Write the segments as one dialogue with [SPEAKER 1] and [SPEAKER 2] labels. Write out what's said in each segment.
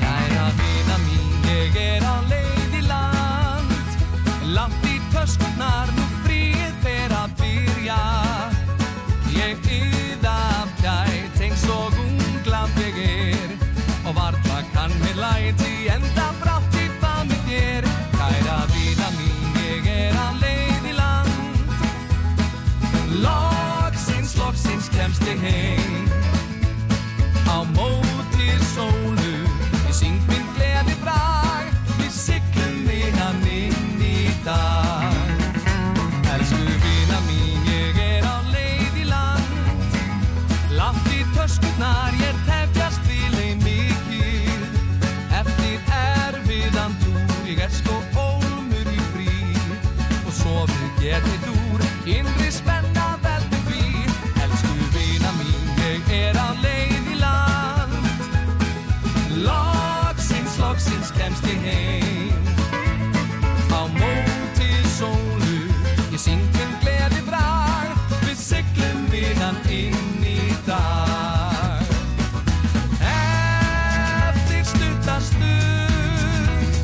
[SPEAKER 1] Kæra vina mín, ég er á leið í land Langt í töskunar, nú fríð er að byrja Ég yða pjæt eins og ungland ég er Og varla kann mér læti enda brátt í það mér ger Kæra vina mín, ég er á leið í land Loksins, loksins kemst ég heim á móti sólu ég syng minn gleði brag við siglum vinnan inn í dag Elsku vina mín ég er á leið í land langt í töskunar ég tefjast vilei mikið eftir erfiðan túr ég er sko ólmur í frí og svo við getið úr innri spenna veldur því Elsku vina mín ég er á leið í land Loksins, loksins kemst ég heim Á móti sólu Ég syng minn gleði brag Við siglum vinnan inn í dag Eftir stutta stund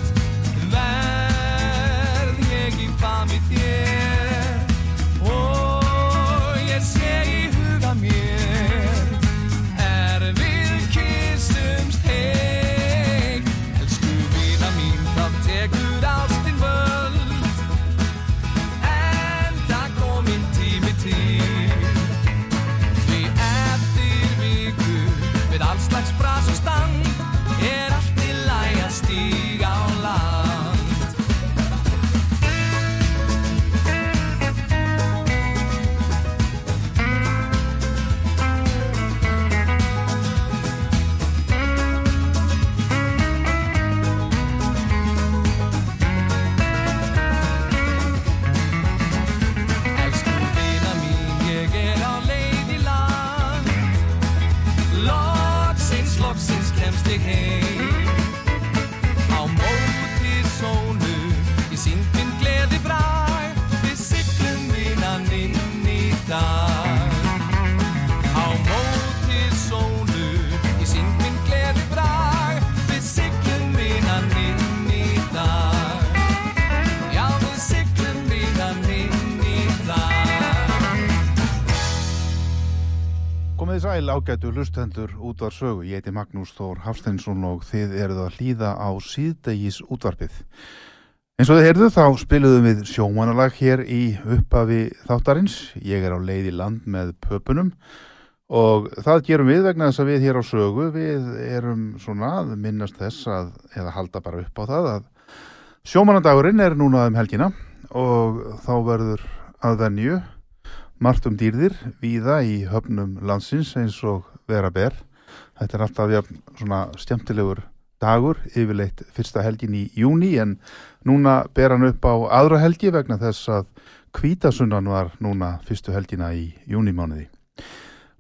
[SPEAKER 1] Verð ég í fami þér Og ég sé í huga mér Er við kyssumst heik Elsku vina mín, það tekur ástin völd En það komin tími til Því eftir viku Við allslags bras og stand Er allt í læg að stíga á land Elsku vina mín, ég er á leið í land Loksins, loksins kemst ég heim Á móti sólu, ég syng minn gleði bræ Við siglum vinnan inn í dag Á móti sólu, ég syng minn gleði bræ Við siglum vinnan inn í dag Já, við siglum vinnan inn í dag
[SPEAKER 2] Komið þið sæl ágætu lustendur útvar sögu. Ég heiti Magnús Þór Hafsteinsson og þið eruð að hlýða á síðdegis útvarpið. Eins og þið heyrðu þá spiluðum við sjómanalag hér í upphafi þáttarins. Ég er á leið í land með pöpunum og það gerum við vegna þess að við hér á sögu við erum svona að minnast þess að, eða halda bara upp á það að sjómanadagurinn er núna um helgina og þá verður að venju margt um dýrðir víða í höfnum landsins eins og vera ber. Þetta er alltaf jafn, svona skemmtilegur dagur, yfirleitt fyrsta helgin í júni en núna ber hann upp á aðra helgi vegna þess að kvítasunnan var núna fyrstu helgina í júnimánuði.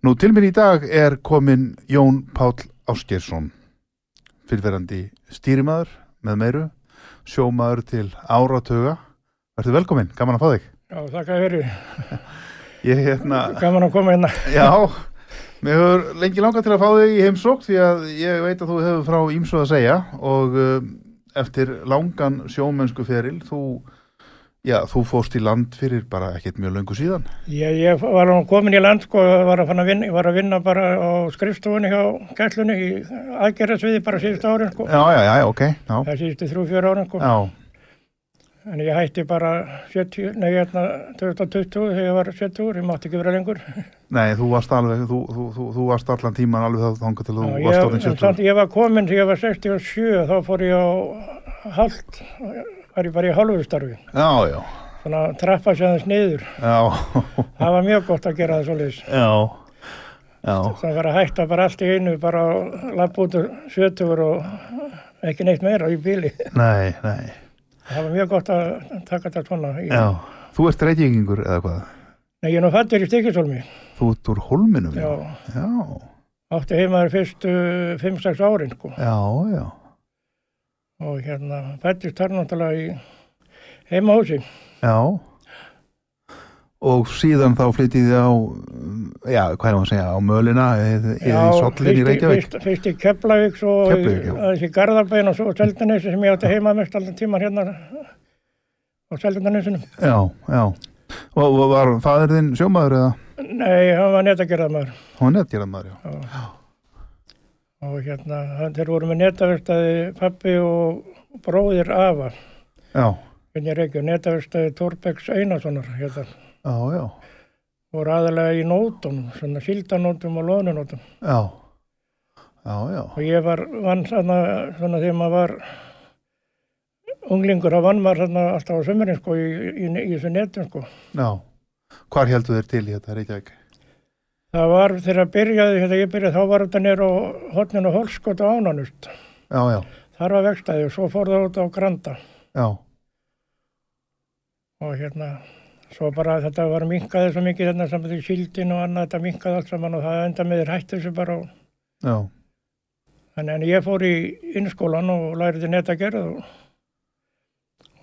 [SPEAKER 2] Nú til mér í dag er komin Jón Páll Áskeirsson, fyrirverandi stýrimaður með meiru, sjómaður til áratuga. Verður velkominn, gaman að fá þig.
[SPEAKER 3] Já, þakka fyrir.
[SPEAKER 2] Ég hérna...
[SPEAKER 3] Gaman að koma hérna.
[SPEAKER 2] Já, mér hefur lengi langað til að fá þig í heimsók því að ég veit að þú hefur frá ímsu að segja og um, eftir langan sjómennsku feril, þú, já, þú fórst í land fyrir bara ekkert mjög löngu síðan.
[SPEAKER 3] Ég, ég var nú komin í land sko, var að, fara að vinna, var að vinna bara á skrifstofunni hjá gætlunni í aðgerðasviði bara síðustu árin sko.
[SPEAKER 2] Já, já, já, ok, já,
[SPEAKER 3] Það síðustu þrjú, fjör árin sko.
[SPEAKER 2] já,
[SPEAKER 3] En ég hætti bara 70, nei, hérna 2020 þegar ég var 70 úr, ég mátti ekki vera lengur.
[SPEAKER 2] nei, þú varst alveg, þú, þú, þú, þú varst allan tíman alveg þá þangað til að þú
[SPEAKER 3] Já,
[SPEAKER 2] varst
[SPEAKER 3] ég,
[SPEAKER 2] orðin
[SPEAKER 3] en samt
[SPEAKER 2] 70.
[SPEAKER 3] ég var komin þegar ég var 67, þá fór ég á hald, var ég bara í halvustarfi.
[SPEAKER 2] Já, já,
[SPEAKER 3] Svona trappa sér þess niður.
[SPEAKER 2] já,
[SPEAKER 3] Það var mjög gott að gera það svo
[SPEAKER 2] já, Já,
[SPEAKER 3] það var að hætta bara allt í einu bara að lappa út úr 70 og ekki neitt meira í bíli
[SPEAKER 2] nei, nei,
[SPEAKER 3] það var mjög gott að taka þetta svona ég,
[SPEAKER 2] já. Þú ert reykingur eða hvað?
[SPEAKER 3] Nei, ég er nú fættur í Stikisólmi
[SPEAKER 2] Þú ert úr holminum?
[SPEAKER 3] já,
[SPEAKER 2] Já,
[SPEAKER 3] átti heimaður fyrstu 5-6 árin sko.
[SPEAKER 2] já, já.
[SPEAKER 3] og hérna fættist þar náttúrulega í heimahúsi
[SPEAKER 2] Já. Og síðan þá flyttiði á, mm, já, hvað er maður að segja, á Mölina eða eða í Sollin í
[SPEAKER 3] fyrst,
[SPEAKER 2] Reykjavík?
[SPEAKER 3] fyrst, fyrst í Keflavík svo
[SPEAKER 2] Keflavík, já.
[SPEAKER 3] í, aðeins í Garðabæin og svo Seldinesi sem ég átti heima mest allan tíman hérna á Seldinesinum
[SPEAKER 2] Já, já. Og, og var fadir þinn sjómaður eða?
[SPEAKER 3] nei, hann var netagerðar maður
[SPEAKER 2] Hún er nettjörðmaður, já.
[SPEAKER 3] og hérna, hann- þeir voru með netaverstaði pappi og bróðir afa
[SPEAKER 2] Já,
[SPEAKER 3] hvernig er ekki, netaverstaði Torbecks Einarssonar hérna,
[SPEAKER 2] já, já,
[SPEAKER 3] voru aðalega í nótum svona sildanótum og lónunótum
[SPEAKER 2] já. Já, já,
[SPEAKER 3] og ég var vann þarna svona þegar maður var unglingur að vann maður þarna alltaf á sömurinn sko í, í, í, þessu netum sko
[SPEAKER 2] já. Hvar heldur þér til í þetta Reykjavík?
[SPEAKER 3] það var þegar að byrjaði, hérna ég byrjaði þá var þetta nýr á hotninu Holskot og Ánanust
[SPEAKER 2] Já, já,
[SPEAKER 3] þar var vegstæði og svo fór það út á Granda
[SPEAKER 2] já,
[SPEAKER 3] og hérna svo bara þetta var minkaði svo mikið þarna saman því síldin og annað þetta minkaði allt saman og það enda með þér hætti þessu bara og,
[SPEAKER 2] já,
[SPEAKER 3] en, en ég fór í innskólan og læriði netagerð og,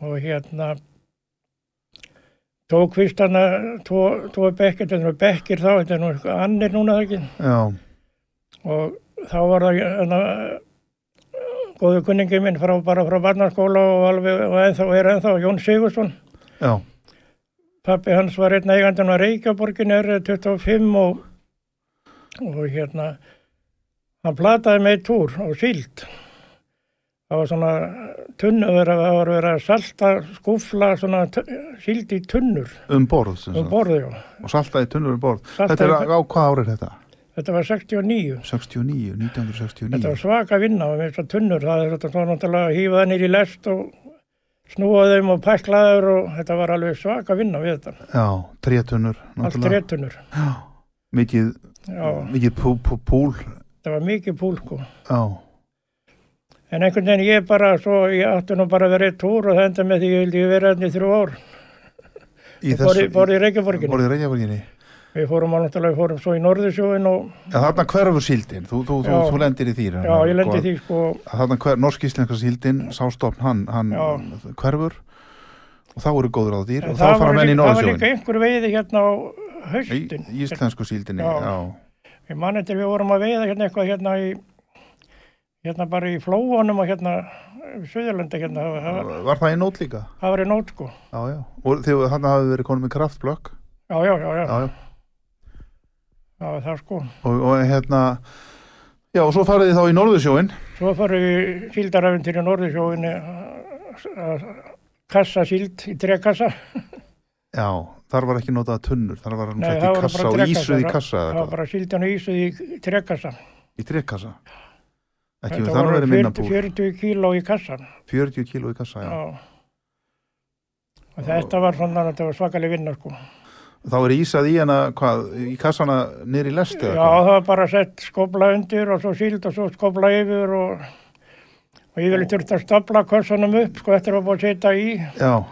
[SPEAKER 3] og hérna tók fyrst hana tvo, tvo bekkir, þetta er nú bekkir þá þetta er nú eitthvað annir núna það ekki
[SPEAKER 2] já,
[SPEAKER 3] og þá var það hana, góðu kunningi minn frá, bara frá barnaskóla og alveg og ennþá, er ennþá Jón Sigursson
[SPEAKER 2] já,
[SPEAKER 3] Pappi hans var einn eigandinn á Reykjaborgin er 25 og, og hérna hann plataði með túr og síld það var svona tunnu verið, það var verið að salta skúfla svona tu- síld í tunnur
[SPEAKER 2] um borð, sem
[SPEAKER 3] um
[SPEAKER 2] sagt.
[SPEAKER 3] borðu já,
[SPEAKER 2] Og saltaði tunnur um borð.
[SPEAKER 3] Saltaði
[SPEAKER 2] Þetta er
[SPEAKER 3] tun-
[SPEAKER 2] á, á hvað árið þetta?
[SPEAKER 3] þetta var 69
[SPEAKER 2] 69, 1969.
[SPEAKER 3] þetta var svaka vinna með þessar tunnur það er þetta svona náttúrulega að hýfa það nýr í lest og snúa þeim og pakla þeir og þetta var alveg svaka vinna við þetta,
[SPEAKER 2] Já, trétunnur
[SPEAKER 3] allt
[SPEAKER 2] náttúrulega.
[SPEAKER 3] réttunur
[SPEAKER 2] Mikið,
[SPEAKER 3] já,
[SPEAKER 2] mikið pú, pú, púl
[SPEAKER 3] þetta var mikið púlku
[SPEAKER 2] Já,
[SPEAKER 3] En einhvern veginn ég bara, svo ég átti nú bara að vera eitt túr og það enda með því ég vildi vera hérna í þrjú ár.
[SPEAKER 2] í
[SPEAKER 3] Og borði- borði í Reykjavíkurborginni.
[SPEAKER 2] Borði í Reykjavíkurginni
[SPEAKER 3] Við fórum á náttúrulega, við fórum svo í Norðursjóin og
[SPEAKER 2] Já, þarna hverfur síldin, þú, þú, þú,
[SPEAKER 3] Já.
[SPEAKER 2] þú lendir í þýr
[SPEAKER 3] já, ég lendi í því sko,
[SPEAKER 2] Þarna hver, norsk-íslenska síldin, sástofn, hann, hann
[SPEAKER 3] Já.
[SPEAKER 2] hverfur og þá eru góður á dýr
[SPEAKER 3] en
[SPEAKER 2] og þá fara
[SPEAKER 3] var
[SPEAKER 2] menn í
[SPEAKER 3] líka, það var líka
[SPEAKER 2] Norðsjóin
[SPEAKER 3] einhver veiði hérna á
[SPEAKER 2] Í
[SPEAKER 3] haustin.
[SPEAKER 2] í íslensku síldinni,
[SPEAKER 3] Já.
[SPEAKER 2] já,
[SPEAKER 3] Ég man eftir við vorum að veiða hérna eitthvað hérna í, hérna bara í flóanum og hérna, Suðurlandi hérna, það, það, var,
[SPEAKER 2] Var það í nót líka?
[SPEAKER 3] það var í nót sko.
[SPEAKER 2] Já, já, og þegar þarna hafi verið konum með kraftblökk
[SPEAKER 3] Já, já, já, já,
[SPEAKER 2] Já, já,
[SPEAKER 3] það var það sko.
[SPEAKER 2] og, og hérna Já, og svo farið þið þá í Norðursjóin
[SPEAKER 3] Svo fórum við síldarafinn til Norðursjóin að kassa síld í trekassa.
[SPEAKER 2] Já, þar var ekki notað tunnur, þar var hann
[SPEAKER 3] Nei,
[SPEAKER 2] sett í
[SPEAKER 3] það voru bara
[SPEAKER 2] kassa og
[SPEAKER 3] trekkassa,
[SPEAKER 2] ísuð í
[SPEAKER 3] það-
[SPEAKER 2] kassa
[SPEAKER 3] Það
[SPEAKER 2] eða
[SPEAKER 3] var
[SPEAKER 2] eitthvað,
[SPEAKER 3] bara síldan og ísuð í trekkassa.
[SPEAKER 2] í trekkassa. Ekki
[SPEAKER 3] Þetta
[SPEAKER 2] við þannig að vera minna búr,
[SPEAKER 3] 40 kíló í kassan.
[SPEAKER 2] 40 kíló í kassa, já.
[SPEAKER 3] Já. Og þetta var svona, þetta var svakaleg vinna sko.
[SPEAKER 2] Þá er ísað í hana, hvað, í kassana niður í lest
[SPEAKER 3] Já,
[SPEAKER 2] eða
[SPEAKER 3] það var bara sett skobla undir og svo síld og svo skobla yfir og, og ég vilja þurft að stapla kassanum upp sko eftir að búið að setja í.
[SPEAKER 2] Já,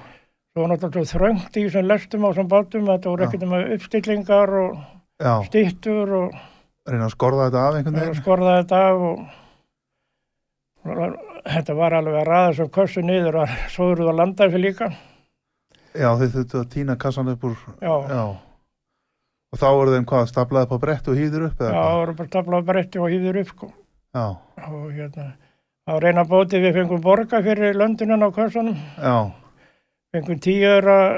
[SPEAKER 3] Svo var náttúrulega svo þröngt í þessum lestum á þessum bátum, þetta voru ekkert um uppstillingar og
[SPEAKER 2] já,
[SPEAKER 3] stýttur og
[SPEAKER 2] reyna að skorða þetta af einhvern
[SPEAKER 3] Það
[SPEAKER 2] veginn.
[SPEAKER 3] skorðaði þetta af og og þetta var alveg að ræða sem kössu niður og svo eru það að landa þessu líka.
[SPEAKER 2] Já, þau þurftu að týna kassan upp úr,
[SPEAKER 3] Já, já,
[SPEAKER 2] já. Og þá voru þeim hvað, staplaði upp á brett og hýður upp eða
[SPEAKER 3] það
[SPEAKER 2] hvað?
[SPEAKER 3] voru bara staflaði bretti og hýður upp sko.
[SPEAKER 2] Já,
[SPEAKER 3] Og hérna, það var eina bóti við fengum borga fyrir löndunum á kössunum.
[SPEAKER 2] já,
[SPEAKER 3] Fengum tíur að,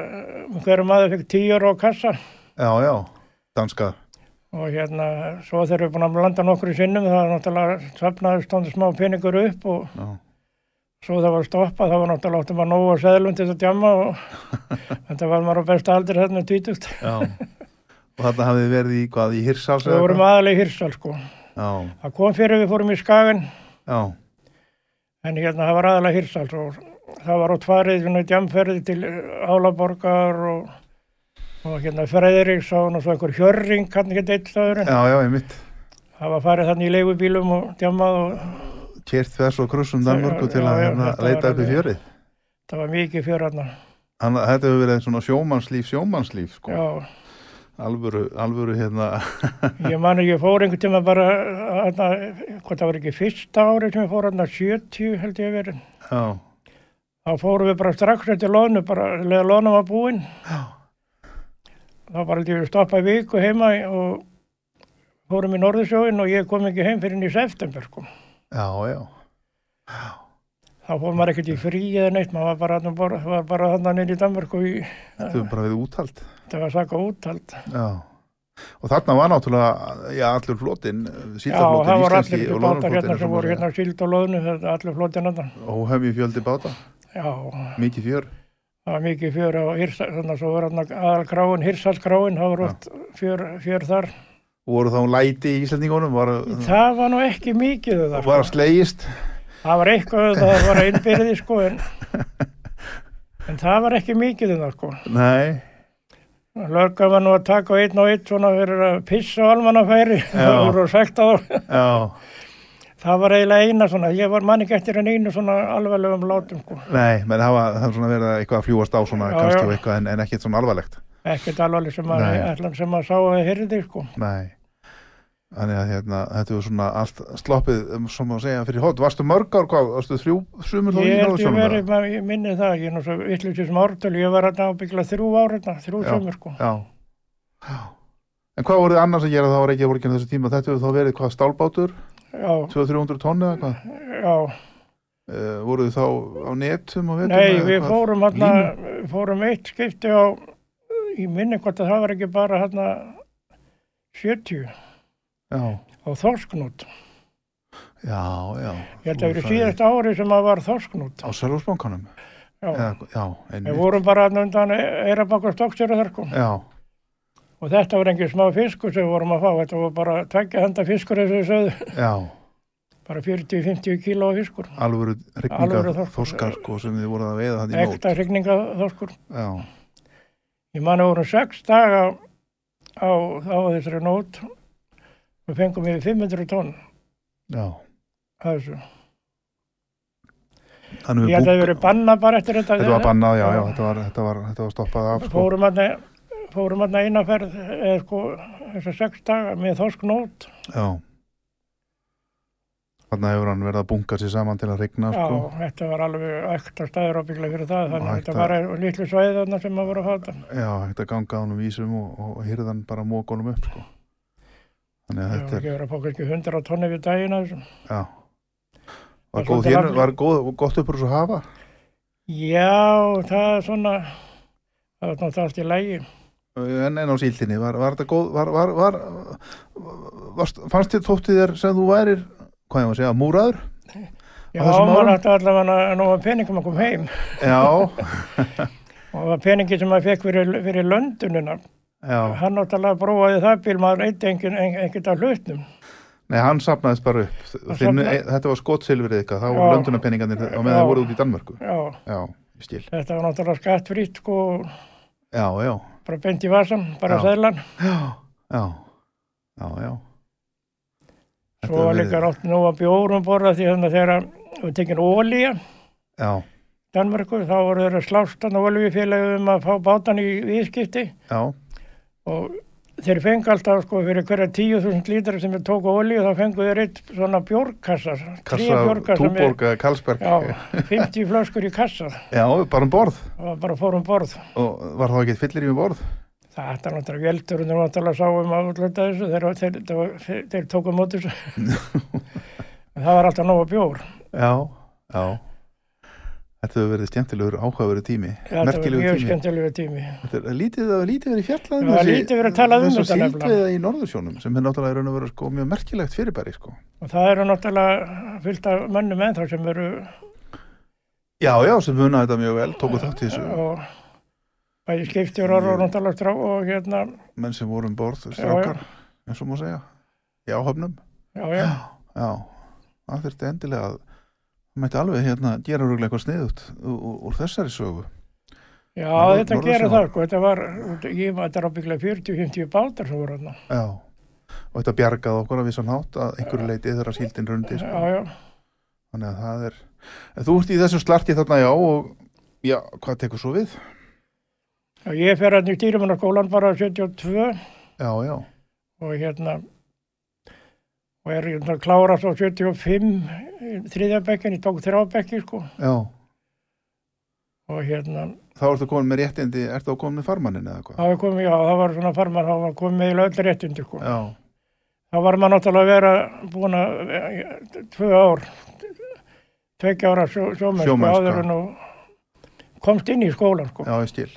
[SPEAKER 3] hverju maður fekk tíur á kassa.
[SPEAKER 2] já, já, danska,
[SPEAKER 3] Og hérna, svo þegar við búin að landa nokkru sinnum, það var náttúrulega safnaði stóndi smá peningur upp og
[SPEAKER 2] já,
[SPEAKER 3] svo það var stoppað, það var náttúrulega áttum að nóga seðlum til þess að djama og þetta var maður á besta aldri þarna tvítugt.
[SPEAKER 2] já. Og þarna hafið þið verið í, hvað, í hirsals
[SPEAKER 3] Við vorum aðalega í Hirsal sko.
[SPEAKER 2] Já,
[SPEAKER 3] Það kom fyrir við fórum í Skagen
[SPEAKER 2] já,
[SPEAKER 3] en hérna það var aðalega hérna, Hirsal og það var út farið svona djamferði til eh, Álaborgar og og hérna Fredriks og hann og svo einhver hjörring hann ekki eitt staður en
[SPEAKER 2] Já, já, einmitt.
[SPEAKER 3] það var farið þannig í leigubílum og djamað og
[SPEAKER 2] Kert þess og krussum Danmörku til
[SPEAKER 3] Já,
[SPEAKER 2] að
[SPEAKER 3] já,
[SPEAKER 2] hérna,
[SPEAKER 3] þetta
[SPEAKER 2] leita
[SPEAKER 3] var
[SPEAKER 2] upp í
[SPEAKER 3] alveg-
[SPEAKER 2] fjörið.
[SPEAKER 3] það var mikið fjör hérna
[SPEAKER 2] Þannig að þetta hefur verið svona sjómannslíf, sjómannslíf, sko.
[SPEAKER 3] já,
[SPEAKER 2] Alvöru, alvöru, hérna,
[SPEAKER 3] ég man að ég fór einhvern tíma bara hérna, hvað það var ekki fyrsta ári sem ég fór hérna 70 held ég verið
[SPEAKER 2] já,
[SPEAKER 3] þá fórum við bara strax eftir lónu bara leða lónum að búin þá bara held ég við stoppaði viku heima og fórum í Norðursjóin og ég kom ekki heim fyrir inn í september sko.
[SPEAKER 2] já, já.
[SPEAKER 3] þá fór maður ekkert í frí eða neitt maður var bara, þarna um borð- var bara þannig inn í Danmörku í,
[SPEAKER 2] Þetta hefur bara við úthald.
[SPEAKER 3] það var saka úthald
[SPEAKER 2] Já. Og þarna var náttúrulega, já, allur flotin,
[SPEAKER 3] Já, það
[SPEAKER 2] síldarflotin,
[SPEAKER 3] voru allir
[SPEAKER 2] íslenski
[SPEAKER 3] ekki
[SPEAKER 2] og
[SPEAKER 3] bátar
[SPEAKER 2] lóðarflotin.
[SPEAKER 3] hérna sem voru hérna síld og loðnu, þetta allir flótinn hérna.
[SPEAKER 2] Óhefji fjöldi báta,
[SPEAKER 3] Já,
[SPEAKER 2] mikið fjör.
[SPEAKER 3] það var mikið fjör á Hirsal, þannig að svo var hérna aðalgráin, Hirsalsgráin, það voru oft fjör, fjör þar.
[SPEAKER 2] Voru þá læti í Íslandingunum, var,
[SPEAKER 3] Það var nú ekki mikið það,
[SPEAKER 2] var að slegist.
[SPEAKER 3] það var eitthvað það var að innbyrði sko, en, en það var ekki mikið það, sko.
[SPEAKER 2] Nei,
[SPEAKER 3] Lörgum var nú að taka á einn og einn svona fyrir að pissa á almannafæri, það
[SPEAKER 2] Já.
[SPEAKER 3] voru sagt að það.
[SPEAKER 2] já,
[SPEAKER 3] Það var eiginlega eina svona, ég var manni ekki eftir en einu svona alveglegum látum, sko.
[SPEAKER 2] nei, menn hafa það er svona verið að eitthvað að fljúast á svona
[SPEAKER 3] Já,
[SPEAKER 2] kannski
[SPEAKER 3] já.
[SPEAKER 2] og eitthvað en, en ekkert svona alvarlegt.
[SPEAKER 3] Ekkert alveg sem að,
[SPEAKER 2] Nei.
[SPEAKER 3] ætlan sem að sá að heyrði, sko.
[SPEAKER 2] Nei, þannig að hérna, þetta var svona allt sloppið, um, sem að segja, fyrir hótt. Varstu mörg ár, hvað, varstu þrjú sumur þá í
[SPEAKER 3] Ég held ég
[SPEAKER 2] Norðursjónum eða?
[SPEAKER 3] verið, maður- ég minni það, ég er nú svo vittlutið sem ártöl, ég var þarna ábyggla þrjú ára þarna, þrjú
[SPEAKER 2] Já.
[SPEAKER 3] sömur sko.
[SPEAKER 2] Já. já. En hvað voruð þið annars að gera þá á Reykjavíkinu þessu tíma? Þetta hefur þá verið hvað stálbátur,
[SPEAKER 3] Já,
[SPEAKER 2] 200-300 tonn eða hvað?
[SPEAKER 3] já,
[SPEAKER 2] Uh, voruð þið þá á netum og vetum?
[SPEAKER 3] nei, við fórum þarna, fórum eitt skipti á, ég minni hvort að það var ekki bara þarna 70
[SPEAKER 2] Já,
[SPEAKER 3] á þorsknút.
[SPEAKER 2] já, já.
[SPEAKER 3] Ég held að
[SPEAKER 2] Þú
[SPEAKER 3] verið
[SPEAKER 2] farið
[SPEAKER 3] síðast ári sem að var þorsknút.
[SPEAKER 2] Á Sælúsbankanum? Já,
[SPEAKER 3] Já,
[SPEAKER 2] já,
[SPEAKER 3] við
[SPEAKER 2] einmitt.
[SPEAKER 3] vorum bara þarna undan Eirabakku stokkstöru þar sko.
[SPEAKER 2] Já,
[SPEAKER 3] Og þetta var engin smá fiskur sem við vorum að fá, þetta var bara tveggja handa fiskur þessu sögðu,
[SPEAKER 2] já,
[SPEAKER 3] bara 40-50 kíló af fiskur.
[SPEAKER 2] alvöru hrygninga
[SPEAKER 3] Alvöru þorsk-
[SPEAKER 2] þorskar sko sem þið voruð að veiða þannig í nót.
[SPEAKER 3] Ekta hrygninga þorskur.
[SPEAKER 2] Já,
[SPEAKER 3] Ég man að voru sex daga á, á þessari nót og fengum við 500 tonn
[SPEAKER 2] já.
[SPEAKER 3] af þessu.
[SPEAKER 2] Þannig
[SPEAKER 3] Ég held að það verið bannað bara eftir þetta.
[SPEAKER 2] Þetta var bannað, já, já, þetta var, þetta var, þetta var stoppað af sko.
[SPEAKER 3] Fórum aðna, fórum aðna eina ferð eða sko þessu sex daga með þorsknót.
[SPEAKER 2] Já. Þannig hefur hann verið að bunga sér saman til að hrygna
[SPEAKER 3] Já,
[SPEAKER 2] sko.
[SPEAKER 3] þetta var alveg ekta staður ábygglega fyrir það.
[SPEAKER 2] Og
[SPEAKER 3] Þannig að
[SPEAKER 2] ekta-
[SPEAKER 3] þetta var lítlu svæði þarna sem maður voru að fata.
[SPEAKER 2] Já, hægt að ganga á honum vísum og, og hirðan bara mók honum upp sko. Þannig að
[SPEAKER 3] Það
[SPEAKER 2] þetta
[SPEAKER 3] var
[SPEAKER 2] er,
[SPEAKER 3] ekki verið að fá kannski 100 tonni við dagina þessu.
[SPEAKER 2] já Var,
[SPEAKER 3] Það er
[SPEAKER 2] góð,
[SPEAKER 3] svolítið
[SPEAKER 2] hér,
[SPEAKER 3] langt-
[SPEAKER 2] var góð, gott uppur svo hafa
[SPEAKER 3] Já, það er svona, það var náttúrulega allt í lægi.
[SPEAKER 2] en en á síldinni, var, var þetta góð var, var, var, varst, fannst þér þóttið þér sem þú værir hvað ég var að segja, múraður?
[SPEAKER 3] Já,
[SPEAKER 2] þessum
[SPEAKER 3] maður
[SPEAKER 2] árum?
[SPEAKER 3] ætti allavega að nóga peningum að koma heim.
[SPEAKER 2] Já,
[SPEAKER 3] Og það var peningi sem maður fekk fyrir, fyrir löndunina.
[SPEAKER 2] já
[SPEAKER 3] Hann náttúrulega bróðaði það bíl, maður eitt engin, en, ekkert af hlutnum.
[SPEAKER 2] Nei, hann sapnaðist bara upp
[SPEAKER 3] Hann
[SPEAKER 2] Þinn,
[SPEAKER 3] safnaði-
[SPEAKER 2] Þetta var skotsilfrið ykkar, þá
[SPEAKER 3] Já.
[SPEAKER 2] voru löndunarpeningarnir á meðan
[SPEAKER 3] Já.
[SPEAKER 2] þið voruð út í Danmörku
[SPEAKER 3] Já,
[SPEAKER 2] Já, ég skil
[SPEAKER 3] þetta var náttúrulega skattfrýtt, sko,
[SPEAKER 2] Já, já,
[SPEAKER 3] bara beint í vasan, bara
[SPEAKER 2] Já.
[SPEAKER 3] sælan.
[SPEAKER 2] já Já, já Þetta
[SPEAKER 3] Svo
[SPEAKER 2] hefur
[SPEAKER 3] var
[SPEAKER 2] verið-
[SPEAKER 3] líka rátt nú að bjórum borða því þannig að þegar það var tekin ólíja,
[SPEAKER 2] Já,
[SPEAKER 3] Danmörku, þá voru þeirra slástan og olíufélagi um að fá bátan í viðskipti
[SPEAKER 2] já,
[SPEAKER 3] og þeir fengu alltaf, sko, fyrir hverja 10.000 lítra sem við tóku ólíu, þá fengu þeir eitt svona bjórkassa, tríu
[SPEAKER 2] Kassa,
[SPEAKER 3] bjórkassa með,
[SPEAKER 2] Túborg, Karlsberg
[SPEAKER 3] já, 50 flöskur í kassa,
[SPEAKER 2] Já, bara um borð
[SPEAKER 3] og bara fórum borð.
[SPEAKER 2] og var þá ekki fyllir í um borð
[SPEAKER 3] Það ætti náttúrulega veldur og náttúrulega sáum að útlöta þessu þeir, þeir, þeir, þeir, þeir tóku móti þessu. En það var alltaf nóg að bjór.
[SPEAKER 2] Já, já Þetta hefur verið skemmtilegur áhugaveru tími
[SPEAKER 3] Þetta var
[SPEAKER 2] merkilegur
[SPEAKER 3] mjög
[SPEAKER 2] tími
[SPEAKER 3] skemmtilegu tími.
[SPEAKER 2] Þetta er lítið, það er lítið verið fjallað um
[SPEAKER 3] Já,
[SPEAKER 2] þessi-
[SPEAKER 3] lítið verið talað um
[SPEAKER 2] þessa
[SPEAKER 3] þetta nefnilega.
[SPEAKER 2] síldveiða í Norðursjónum sem er náttúrulega í raun og verið sko, mjög merkilegt fyrirbæri sko.
[SPEAKER 3] Og það eru náttúrulega fyllt af mönnum ennþá sem eru
[SPEAKER 2] Já, já, sem muna þetta mjög vel tóku þátt í þessu
[SPEAKER 3] og bæði skiptjórar og náttúrulega strá og hérna,
[SPEAKER 2] menn sem voru um borð, strákar eins og má segja, í áhöfnum
[SPEAKER 3] já, já,
[SPEAKER 2] Já, það þurfti endilega að það mætti alveg hérna gera rúglega eitthvað sniðut úr, úr þessari sögu
[SPEAKER 3] Já,
[SPEAKER 2] Norður-
[SPEAKER 3] þetta
[SPEAKER 2] Norðursjó.
[SPEAKER 3] gerir það, sko, þetta var, ég var þetta ábygglega 40-50 bátar sem voru þarna.
[SPEAKER 2] Já, og þetta bjargaði okkur að vissan hátt að einhverju leiti þegar síldin rundi sko.
[SPEAKER 3] Já, já,
[SPEAKER 2] þannig að það er en þú ert í þessu slarti þarna já og já, hvað tekur svo við?
[SPEAKER 3] Já, ég fer hann í dýrumannaskólan bara 72
[SPEAKER 2] Já, já,
[SPEAKER 3] og hérna, og er hérna klára svo 75 þriðabekkin, eh, ég tók þrábekki, sko,
[SPEAKER 2] já
[SPEAKER 3] og hérna,
[SPEAKER 2] þá ertu komin með réttindi, ertu þá komin með farmannin eða hvað?
[SPEAKER 3] það var komið, já, það var svona farmann, það var komið með öll réttindi, sko.
[SPEAKER 2] Já,
[SPEAKER 3] þá var maður náttúrulega að vera búin að eh, tvö ár tvekja ára sjó, sjómennsku
[SPEAKER 2] Sjómennsku,
[SPEAKER 3] áður
[SPEAKER 2] já.
[SPEAKER 3] en og komst inn í skólan sko.
[SPEAKER 2] já, ég skil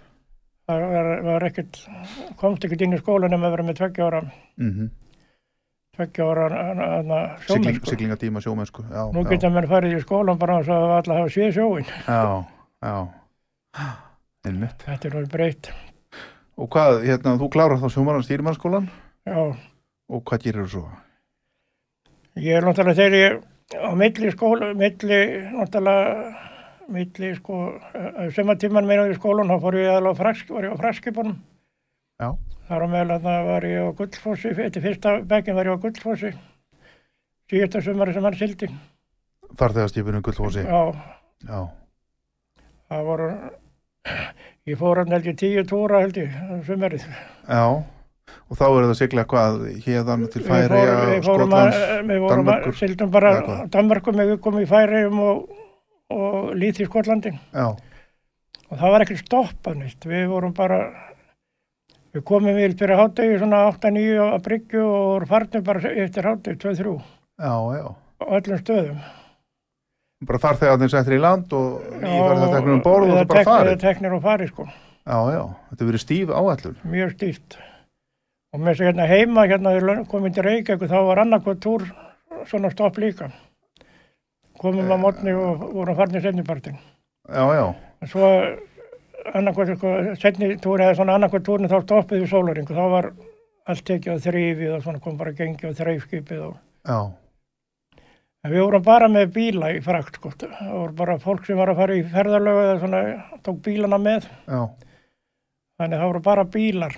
[SPEAKER 3] það var, var ekkert komst ekkert inn í skólan nema að vera með tvekja ára
[SPEAKER 2] mm
[SPEAKER 3] tvekja ára hana- hana
[SPEAKER 2] Sigling,
[SPEAKER 3] sjómennsku
[SPEAKER 2] siglingatíma sjómennsku já,
[SPEAKER 3] nú
[SPEAKER 2] já,
[SPEAKER 3] geta menn farið í skólan bara þess að alla hafa séð sjóin
[SPEAKER 2] já, já. einmitt
[SPEAKER 3] þetta er nú breytt
[SPEAKER 2] og hvað, hérna, þú klárar þá sjómannan stýrimannskólan
[SPEAKER 3] já,
[SPEAKER 2] og hvað gerir þú svo?
[SPEAKER 3] ég er náttúrulega þegar ég á milli skóla milli náttúrulega milli sko sumatíman meina í skólan þá fór ég aðlega á frask, var ég á fraskipunum
[SPEAKER 2] Já,
[SPEAKER 3] Þar á meðal þarna var ég á Gullfossi, eftir fyrsta bekkin var ég á Gullfossi, síðasta sumari sem hann sildi.
[SPEAKER 2] farþegarskipunum gullhósi
[SPEAKER 3] Já,
[SPEAKER 2] já,
[SPEAKER 3] það voru, ég fór hann held ég tíu túra held ég, um sumarið.
[SPEAKER 2] já og þá er það sigla hvað hérðan til
[SPEAKER 3] Við fórum-
[SPEAKER 2] Færiða,
[SPEAKER 3] við fórum að-
[SPEAKER 2] Skotlands,
[SPEAKER 3] Við fórum að,
[SPEAKER 2] Danmerkur.
[SPEAKER 3] sildum bara
[SPEAKER 2] eða hvað?
[SPEAKER 3] á Danmarkum, við komum í Færiðum og, og lítið í Skotlandi.
[SPEAKER 2] Já,
[SPEAKER 3] Og það var ekkert stoppað neitt, við vorum bara, við komum við fyrir hátegi svona 8-9 á Bryggju og vorum farnir bara eftir hátegi, 2-3,
[SPEAKER 2] já, já
[SPEAKER 3] á öllum stöðum.
[SPEAKER 2] bara farþegarnir settir í land og nýfarðar teknir um
[SPEAKER 3] Já,
[SPEAKER 2] borð og
[SPEAKER 3] eða
[SPEAKER 2] það bara
[SPEAKER 3] tek- eða
[SPEAKER 2] farið
[SPEAKER 3] teknir og farið sko,
[SPEAKER 2] já, já, þetta hefur verið stíf áætlun
[SPEAKER 3] mjög stíft og með þess að hérna heima hérna þegar lön- komum til Reykjavík þá var annarkvæð túr svona stopp líka komum að mótni og vorum farnir setnipartin
[SPEAKER 2] já, já,
[SPEAKER 3] svo annarkvæð sko, setni túr eða svona annarkvæð túrin þá stoppið við sólaring og þá var allt tekið á þrýfið og svona kom bara gengi á þrýfskipið og
[SPEAKER 2] já,
[SPEAKER 3] En við vorum bara með bíla í frakt, sko. Það voru bara fólk sem var að fara í ferðarlögu eða svona, tók bílana með.
[SPEAKER 2] já
[SPEAKER 3] Þannig það voru bara bílar.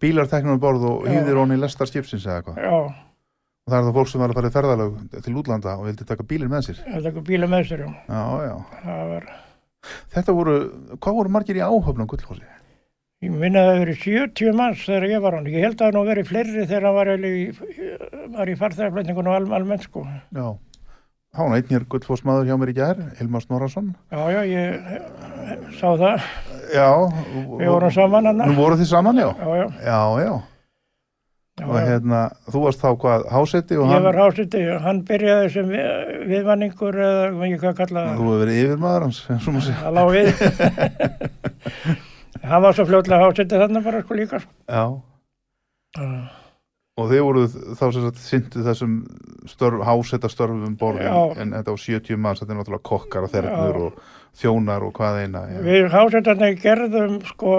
[SPEAKER 2] bílar teknir um borð og
[SPEAKER 3] Já.
[SPEAKER 2] hýðir honi lestar skipsins eða eitthvað
[SPEAKER 3] Já,
[SPEAKER 2] og það er það fólk sem var að fara í ferðalög til útlanda og vildi taka bílinn með sér
[SPEAKER 3] það tekur bíla með sér, já.
[SPEAKER 2] já, já,
[SPEAKER 3] Það var,
[SPEAKER 2] þetta voru hvað voru margir í áhöfnum gullhósi?
[SPEAKER 3] ég minna það hafi verið 70 manns þegar ég var hann. Ég held að það hafi nú verið fleiri þegar hann var, eiginlega í, var í farþegarflötningun og al, almennt sko.
[SPEAKER 2] já, þá var einn hér gullhósmaður hjá mér í gær, Hilmar Snorarsson
[SPEAKER 3] Já, já, ég eh, sá það.
[SPEAKER 2] já,
[SPEAKER 3] Við vorum saman hann.
[SPEAKER 2] nú voru þið saman, já
[SPEAKER 3] Já, já.
[SPEAKER 2] já, já,
[SPEAKER 3] já,
[SPEAKER 2] og
[SPEAKER 3] já.
[SPEAKER 2] hérna þú varst þá hvað, hásetti og
[SPEAKER 3] Ég
[SPEAKER 2] hann
[SPEAKER 3] var hásiti, hann byrjaði sem við- viðmanningur eða ég veit ekki hvað kallaði það.
[SPEAKER 2] þú hefur verið yfirmaður hans, eins og maður segir
[SPEAKER 3] Það lá við. hann var svo fljótlega hásiti þarna bara sko líka. Sko.
[SPEAKER 2] já
[SPEAKER 3] Já.
[SPEAKER 2] Og þið voruð þá sem sagt syndu þessum störf, hásetta störfum borðin,
[SPEAKER 3] Já.
[SPEAKER 2] en þetta á 70 manns, þetta er náttúrulega kokkar og þernur
[SPEAKER 3] Já.
[SPEAKER 2] og þjónar og hvað eina. Já,
[SPEAKER 3] Við hásetarni gerðum sko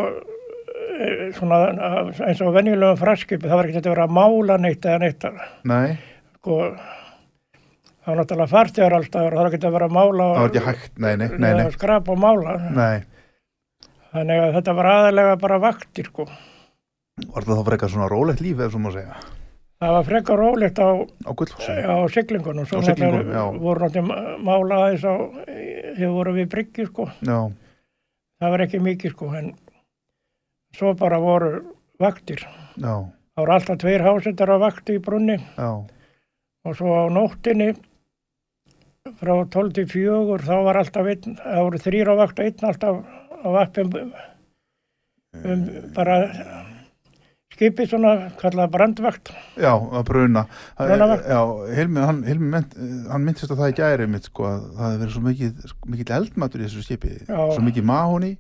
[SPEAKER 3] eh, svona eins og venjulegum fraskipi, það var ekki þetta að vera að mála neitt eða neitt
[SPEAKER 2] Nei,
[SPEAKER 3] sko það var náttúrulega fartjar alltaf og það var ekki að vera að mála
[SPEAKER 2] það var ekki hægt, nei, nei, nei,
[SPEAKER 3] eða
[SPEAKER 2] nei,
[SPEAKER 3] skrapa og mála
[SPEAKER 2] nei.
[SPEAKER 3] þannig að þetta var aðalega bara vaktir sko
[SPEAKER 2] Var það þá frekar svona rólegt líf, ef svo maður segja,
[SPEAKER 3] það var frekar rólegt á,
[SPEAKER 2] á gullhúsum?
[SPEAKER 3] á siglingunum svo
[SPEAKER 2] Á siglingunum,
[SPEAKER 3] náttúrulega
[SPEAKER 2] já.
[SPEAKER 3] voru náttúrulega mála aðeins á þegar voru við bryggju sko
[SPEAKER 2] Já,
[SPEAKER 3] það var ekki mikið sko en svo bara voru vaktir
[SPEAKER 2] já,
[SPEAKER 3] það voru alltaf tveir hásetar á vakti í brunni
[SPEAKER 2] já,
[SPEAKER 3] og svo á nóttinni frá 12 til 4 þá var alltaf einn, það voru þrýr á vakt og einn alltaf á vappum
[SPEAKER 2] Eh.
[SPEAKER 3] um, bara skipið svona, kallað brandvakt
[SPEAKER 2] já, að bruna. Það er-
[SPEAKER 3] Brunavakt.
[SPEAKER 2] Já, Hilmi, hann, Hilmi mynd, hann myndist að það í gæri mitt, sko, að það hefði verið svo mikið, mikill eldmatur í þessu skipi,
[SPEAKER 3] Já.
[SPEAKER 2] svo mikið mahóni,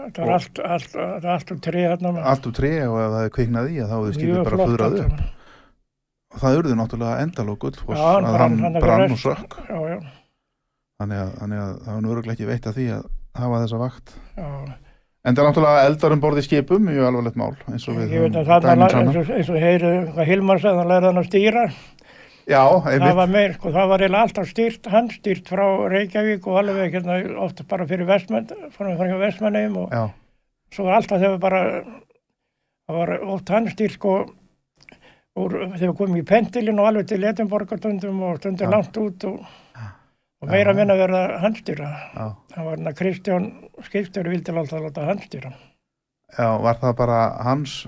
[SPEAKER 3] það var allt, allt, það var allt um tré þarna
[SPEAKER 2] allt úr tré og ef það hefði kviknað í, að þá hefði skipið
[SPEAKER 3] Mjög
[SPEAKER 2] bara
[SPEAKER 3] flott
[SPEAKER 2] fuðrað
[SPEAKER 3] allt
[SPEAKER 2] upp.
[SPEAKER 3] saman.
[SPEAKER 2] Og það urði náttúrulega endalók gullfoss
[SPEAKER 3] Já, hann
[SPEAKER 2] að
[SPEAKER 3] brann- hann
[SPEAKER 2] hann
[SPEAKER 3] er
[SPEAKER 2] brann
[SPEAKER 3] verst.
[SPEAKER 2] og sökk
[SPEAKER 3] já, já,
[SPEAKER 2] þannig að, þannig að það var nú örugglega ekki veitt að því að hafa þessa vakt
[SPEAKER 3] já.
[SPEAKER 2] en það er náttúrulega eldar um borði skipum mjög alvarlegt mál eins og við
[SPEAKER 3] ég veit
[SPEAKER 2] höfum um
[SPEAKER 3] að
[SPEAKER 2] dæmin
[SPEAKER 3] þarna la- eins og, eins og heyrið hvað Hilmar sagði, hann lærði hann að stýra
[SPEAKER 2] Já,
[SPEAKER 3] það
[SPEAKER 2] einmitt.
[SPEAKER 3] var meir, sko, það var eiginlega alltaf stýrt, handstýrt frá Reykjavík og alveg hérna, ofta bara fyrir Vestmenn, fórum frá Vestmennum og
[SPEAKER 2] Já,
[SPEAKER 3] svo alltaf þegar bara, það var oft handstýrt sko, úr, þegar komum í pentilin og alveg til Edinborgartundum og stundir langt út og, og meira minna verða handstýra.
[SPEAKER 2] já,
[SPEAKER 3] Það var hérna Kristján Skiptjóri vildi alltaf láta handstýra.
[SPEAKER 2] já, var það bara hans,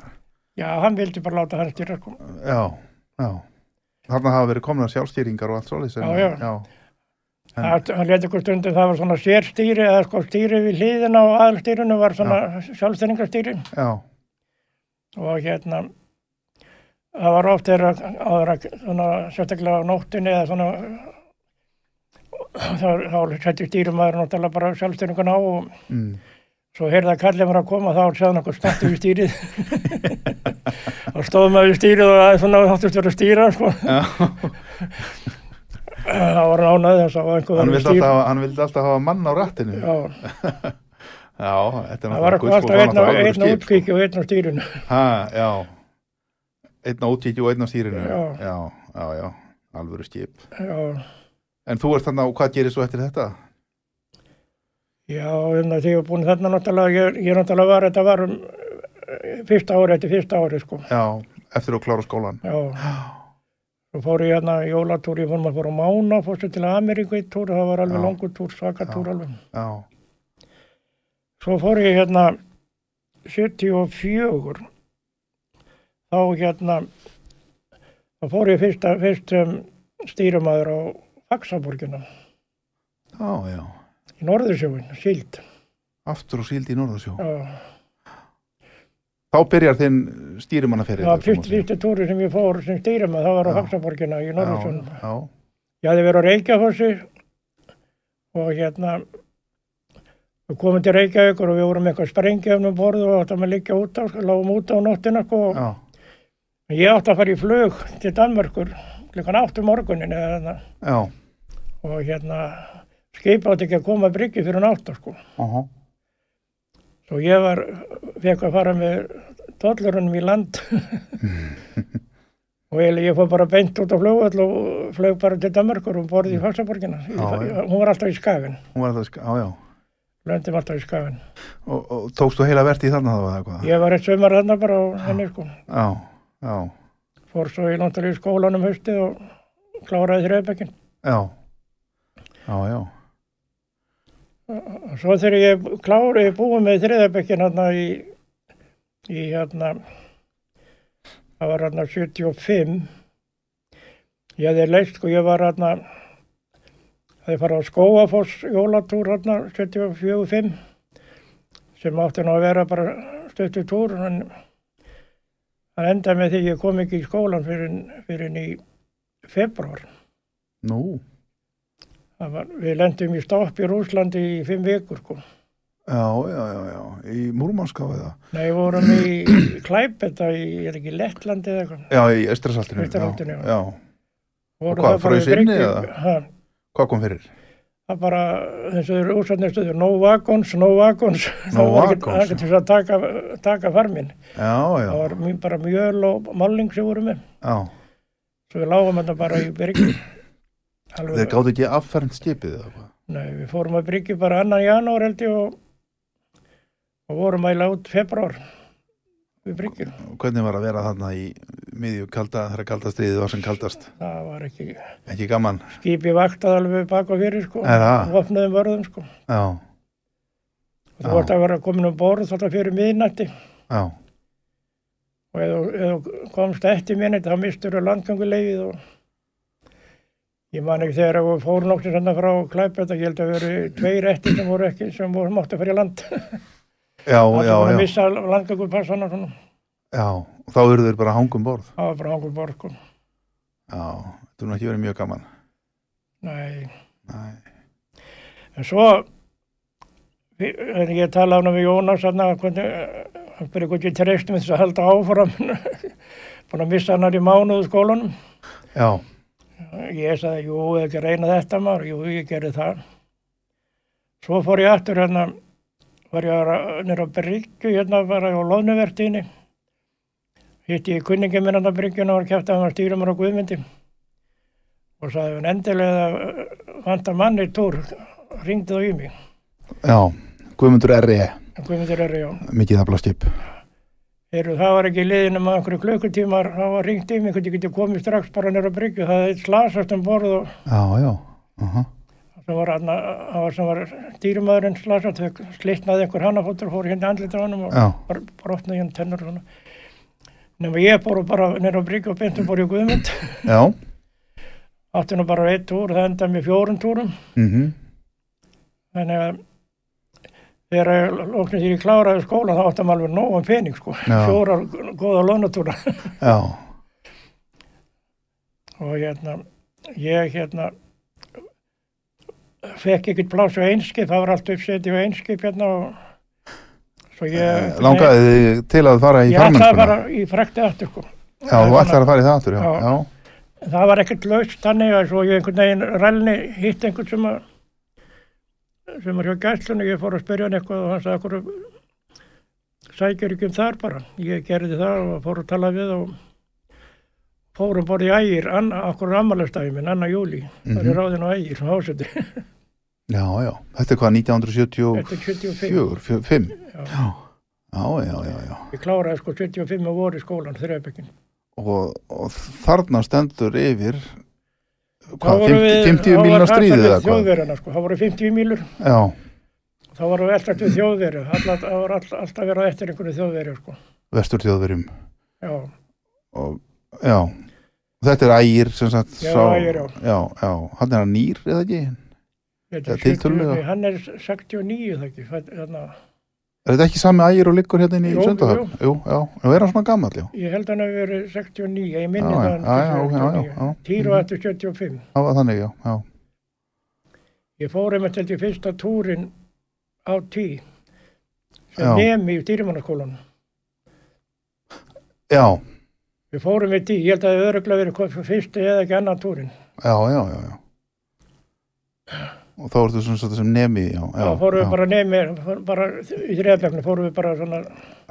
[SPEAKER 3] Já, hann vildi bara láta handstýra sko.
[SPEAKER 2] já, já. Þarna hafa verið komna sjálfstýringar og allt svoleiðis. en-
[SPEAKER 3] Já, já.
[SPEAKER 2] Já, En-
[SPEAKER 3] Það, hann leti okkur stundum, það var svona sérstýri eða sko stýri við hliðina og aðalstýrinu var svona sjálfstyrningastýri
[SPEAKER 2] já,
[SPEAKER 3] og hérna það var oft þegar að- áður að svona sérstaklega á nóttinni eða svona þá, þá setti stýrimaður náttúrulega bara sjálfstyrningun á og
[SPEAKER 2] mm,
[SPEAKER 3] svo heyrði að kallið var að koma þá sagði hann okkur stættu við stýrið og stóðum við stýrið og aðeins svona þáttist verið að stýra sko.
[SPEAKER 2] já.
[SPEAKER 3] það var nánaði þess að
[SPEAKER 2] Hann
[SPEAKER 3] einhver var að
[SPEAKER 2] vildi,
[SPEAKER 3] stýra
[SPEAKER 2] alltaf, hann vildi alltaf hafa mann á rættinu. Já,
[SPEAKER 3] Já,
[SPEAKER 2] þetta er
[SPEAKER 3] það var
[SPEAKER 2] gull-
[SPEAKER 3] alltaf
[SPEAKER 2] það var
[SPEAKER 3] einn á
[SPEAKER 2] náttúrulega alvöru
[SPEAKER 3] einn á
[SPEAKER 2] skip, sko.
[SPEAKER 3] útkvíki og einn á stýrinu
[SPEAKER 2] Ha, já. Einn á útkíkju og einn á stýrinu.
[SPEAKER 3] Já.
[SPEAKER 2] já, já, já. alvöru skip.
[SPEAKER 3] Já,
[SPEAKER 2] En þú ert þannig á, hvað gerir svo eftir þetta?
[SPEAKER 3] já, þannig að því ég var búin þarna náttúrulega, ég, ég náttúrulega var, þetta var um eh, fyrsta ári, þetta er fyrsta ári, sko.
[SPEAKER 2] Já, eftir að klára skólan.
[SPEAKER 3] Já. Svo fór ég hérna jólatúr, ég fór maður fór á Mána, fórstu til Ameríku í túr, það var alveg
[SPEAKER 2] Já.
[SPEAKER 3] langur túr, svaka túr alveg.
[SPEAKER 2] Já,
[SPEAKER 3] Svo fór ég hérna 74, þá hérna, þá fór ég fyrsta, fyrst um, stýrumaður á Faxaborgina,
[SPEAKER 2] já, já.
[SPEAKER 3] í Norðursjóin, síld.
[SPEAKER 2] Aftur og síld í Norðarsjó.
[SPEAKER 3] Já.
[SPEAKER 2] Þá byrjar þinn stýrimannaferið.
[SPEAKER 3] Það var fyrst fyrsti túri sem ég fór sem stýrum að það var á
[SPEAKER 2] Já.
[SPEAKER 3] Faxaborgina í Norðursson.
[SPEAKER 2] Já, já,
[SPEAKER 3] Ég hafði verið á Reykjafossi og hérna við komum til Reykjavíkur og við vorum með eitthvað sprengjafnum borð og áttum að liggja út á, sko, lágum út á nóttina sko.
[SPEAKER 2] já,
[SPEAKER 3] og Ég átti að fara í flug til Danmörkur klukkan áttu morgunin eða þarna
[SPEAKER 2] já.
[SPEAKER 3] og hérna skip átti ekki að koma að bryggju fyrir nátt sko.
[SPEAKER 2] Aha.
[SPEAKER 3] Svo ég var, fekk að fara með dollurunum í land og eiginlega ég fór bara beint út á flugvöll og flög bara til Danmarkur og borði í Faxaborgina. Í-
[SPEAKER 2] Mm. Já, já.
[SPEAKER 3] Hún var alltaf í skafin,
[SPEAKER 2] Hún var það, sk- já, já.
[SPEAKER 3] löndum alltaf í skafin.
[SPEAKER 2] Og, og tókstu heila vertið þarna það var eitthvað?
[SPEAKER 3] Ég var eitt sömur þarna bara og henni sko.
[SPEAKER 2] Ah. Já, já,
[SPEAKER 3] Fór svo í náttúrulega í skólanum haustið og kláraði þrjöfbekkin.
[SPEAKER 2] já. Já, já,
[SPEAKER 3] Og svo þegar ég kláraði búið með þriðabekkin hérna í, í hérna, það var hérna 75. Ég hefði leist sko, ég var hérna, hefði farið á Skóafoss jólatúr hérna 74-5 sem átti nú að vera bara stöttu túr en það endaði með því að ég kom ekki í skólan fyrir, fyrir í februar.
[SPEAKER 2] nú,
[SPEAKER 3] Var, við lendum í stopp í Rúslandi í fimm vikur sko.
[SPEAKER 2] já, já, já, já, í Múrmanska við það.
[SPEAKER 3] Nei, við vorum í Klæpeta í, er ekki Lettlandi eða eitthvað.
[SPEAKER 2] Já, í Östrasaltinu.
[SPEAKER 3] Eystrasaltinu,
[SPEAKER 2] já.
[SPEAKER 3] já.
[SPEAKER 2] Já,
[SPEAKER 3] Voru
[SPEAKER 2] hvað,
[SPEAKER 3] það bara í
[SPEAKER 2] fraus inni
[SPEAKER 3] bryggju-
[SPEAKER 2] eða?
[SPEAKER 3] Ha,
[SPEAKER 2] hvað kom fyrir?
[SPEAKER 3] Það bara, eins og þeir eru úrsatnir stöður, no wagons, no wagons.
[SPEAKER 2] No
[SPEAKER 3] Það var
[SPEAKER 2] wagons,
[SPEAKER 3] ekkert- Það var ekki til að taka, taka farminn.
[SPEAKER 2] Já, já,
[SPEAKER 3] Það var mjög, bara mjöl og málning sem voru með.
[SPEAKER 2] já.
[SPEAKER 3] Svo við lágum þetta bara í Bryggju. Alveg-
[SPEAKER 2] Þeir gáttu ekki affernt skipið eða hvað?
[SPEAKER 3] Nei, við fórum að Bryggju bara annan janúar held ég og, og vorum að láta út februar við Bryggju.
[SPEAKER 2] Hvernig var að vera þarna í miðju kalda, þeirra kalda stríðið var sem kaldast?
[SPEAKER 3] Það var ekki,
[SPEAKER 2] Ekki gaman?
[SPEAKER 3] skipið vaktaði alveg bak og fyrir sko.
[SPEAKER 2] Er það?
[SPEAKER 3] Vopnuðum vörðum sko.
[SPEAKER 2] Já,
[SPEAKER 3] Og Þú
[SPEAKER 2] Já.
[SPEAKER 3] vart að vera komin um borð þátt fyrir miðnætti
[SPEAKER 2] já,
[SPEAKER 3] og ef þú- ef þú komst eftir miðnætti þá mistur þú landgangulegið og ég man ekki þegar að við fórum nokkur sann frá klæpa þetta, ég held að veru tveir eftir sem voru ekki, sem voru mátt að fara í land.
[SPEAKER 2] já, já,
[SPEAKER 3] Það voru að
[SPEAKER 2] já,
[SPEAKER 3] missa landgangupassana svona,
[SPEAKER 2] já, þá eru þeir bara að hanga um borð.
[SPEAKER 3] það var bara hangur borð sko.
[SPEAKER 2] Já, þetta er nú ekki verið mjög gaman.
[SPEAKER 3] Nei,
[SPEAKER 2] Nei,
[SPEAKER 3] en svo, vi- en ég talaði hann við Jónas hann að hvernig, eh, hann spurði hvernig ég treystum þess að halda áfram, búin að missa hann hérna í mánuðu skólanum.
[SPEAKER 2] já,
[SPEAKER 3] Ég sagði, jú, ég ekki reyna þetta maður, jú, ég gerði það. Svo fór ég aftur hérna, var ég að- niður á Bryggju, hérna var ég á Lóðnuvertíni. hérna Hitti ég kunningi minn hann á Bryggjuna og var kæft að hann stýrum hann á Guðmyndi. og sagði hann endilega eh, vantar manni í túr, ringdi þá í mig.
[SPEAKER 2] Já, Guðmundur R.E.
[SPEAKER 3] Guðmundur Ari, já.
[SPEAKER 2] Mikið afla skip.
[SPEAKER 3] Heyrðu, það var ekki liðin um einhverju klukkutímar, það var ringt í mig, hvernig getið komið strax bara nýra bryggju, það er slasast um borð og
[SPEAKER 2] Já, já. Uh
[SPEAKER 3] sem var, anna, var, sem var dýrumadurinn slasast, þau slitnaði einhver hannafóttur, fór hérna andlita á honum og
[SPEAKER 2] Já.
[SPEAKER 3] bara brotnaði hérna tennur og svona. Nefnum ég fór bara nýra bryggju og beintum fór ég Guðmund,
[SPEAKER 2] Já.
[SPEAKER 3] átti nú bara eitt túr, það endaði með fjórum túrum,
[SPEAKER 2] Mm
[SPEAKER 3] þannig að þegar lóknir því ég kláraði skóla þá áttum alveg nóg um pening sko,
[SPEAKER 2] Já.
[SPEAKER 3] fjóra góða lónatúra.
[SPEAKER 2] Já.
[SPEAKER 3] og hérna ég hérna fekk ekkert pláss á einskip, það var allt uppsetið á einskip hérna og svo ég
[SPEAKER 2] Eh, Langaði þig til að fara í
[SPEAKER 3] ég ætlaði að fara
[SPEAKER 2] farmennskuna?
[SPEAKER 3] í frækti aftur sko
[SPEAKER 2] Já, þú ætlaði að fara í það aftur, já.
[SPEAKER 3] Já.
[SPEAKER 2] Já,
[SPEAKER 3] það var ekkert laust þannig að svo ég einhvern veginn rælni hitt einhvern sem að sem var hjá gæslunni, ég fór að spyrja hann eitthvað og hann sagði okkur sækjur ekki um þar bara, ég gerði það og fór að tala við og fórum bara í ægir, okkur ammælastæði minn, annar júli, það
[SPEAKER 2] Mhm.
[SPEAKER 3] er ráðin á ægir sem hásetur,
[SPEAKER 2] já, já. Þetta er hvað,
[SPEAKER 3] þetta er 75
[SPEAKER 2] 1974, fjö- fimm? Já. Já, já, já, já.
[SPEAKER 3] ég kláraði sko 75 og voru í skólan, þrefbyggjum
[SPEAKER 2] Og, og þarna stendur yfir, hvað,
[SPEAKER 3] vorum
[SPEAKER 2] 50,
[SPEAKER 3] við-
[SPEAKER 2] 50
[SPEAKER 3] þá var
[SPEAKER 2] miljonar
[SPEAKER 3] það
[SPEAKER 2] stríðið
[SPEAKER 3] við
[SPEAKER 2] eða hvað?
[SPEAKER 3] þjóðverjana sko, það voru 50 mílur
[SPEAKER 2] Já,
[SPEAKER 3] þá voru við alltaf við þjóðverju Alla- það var all, alltaf verið á eftir einhverju þjóðverju sko.
[SPEAKER 2] vestur þjóðverjum.
[SPEAKER 3] já,
[SPEAKER 2] Og, já, þetta er ægir, sem sagt,
[SPEAKER 3] Já,
[SPEAKER 2] sá.
[SPEAKER 3] Ægir, já.
[SPEAKER 2] Já, já, hann er hann nýr, eða ekki?
[SPEAKER 3] þetta
[SPEAKER 2] Það
[SPEAKER 3] er
[SPEAKER 2] er tiltölulega.
[SPEAKER 3] 70 hann er 69 það ekki fædd- þarna,
[SPEAKER 2] Er þetta ekki sami ægir og liggur hérna inn í
[SPEAKER 3] Jú,
[SPEAKER 2] Söndahöfn? Jú, já, og er hann svona gammal, já.
[SPEAKER 3] ég held hann að vera 69 ég minni
[SPEAKER 2] Já, já, já,
[SPEAKER 3] það
[SPEAKER 2] já, já, já, já. Mhm.
[SPEAKER 3] týru eftir 75
[SPEAKER 2] Það var þannig, já, já.
[SPEAKER 3] ég fór einmitt held ég fyrsta túrin á tí sem
[SPEAKER 2] Já.
[SPEAKER 3] nemi í dýrimannaskólan
[SPEAKER 2] Já,
[SPEAKER 3] við fórum í tí, ég held að það öruglega verið fyrsti eða ekki annan túrin
[SPEAKER 2] já, já, já, já. Og þá ertu svona svona sem nemi, já, já.
[SPEAKER 3] Já, fórum
[SPEAKER 2] já,
[SPEAKER 3] við bara nemi, fórum bara í þriðaflefni fórum við bara svona,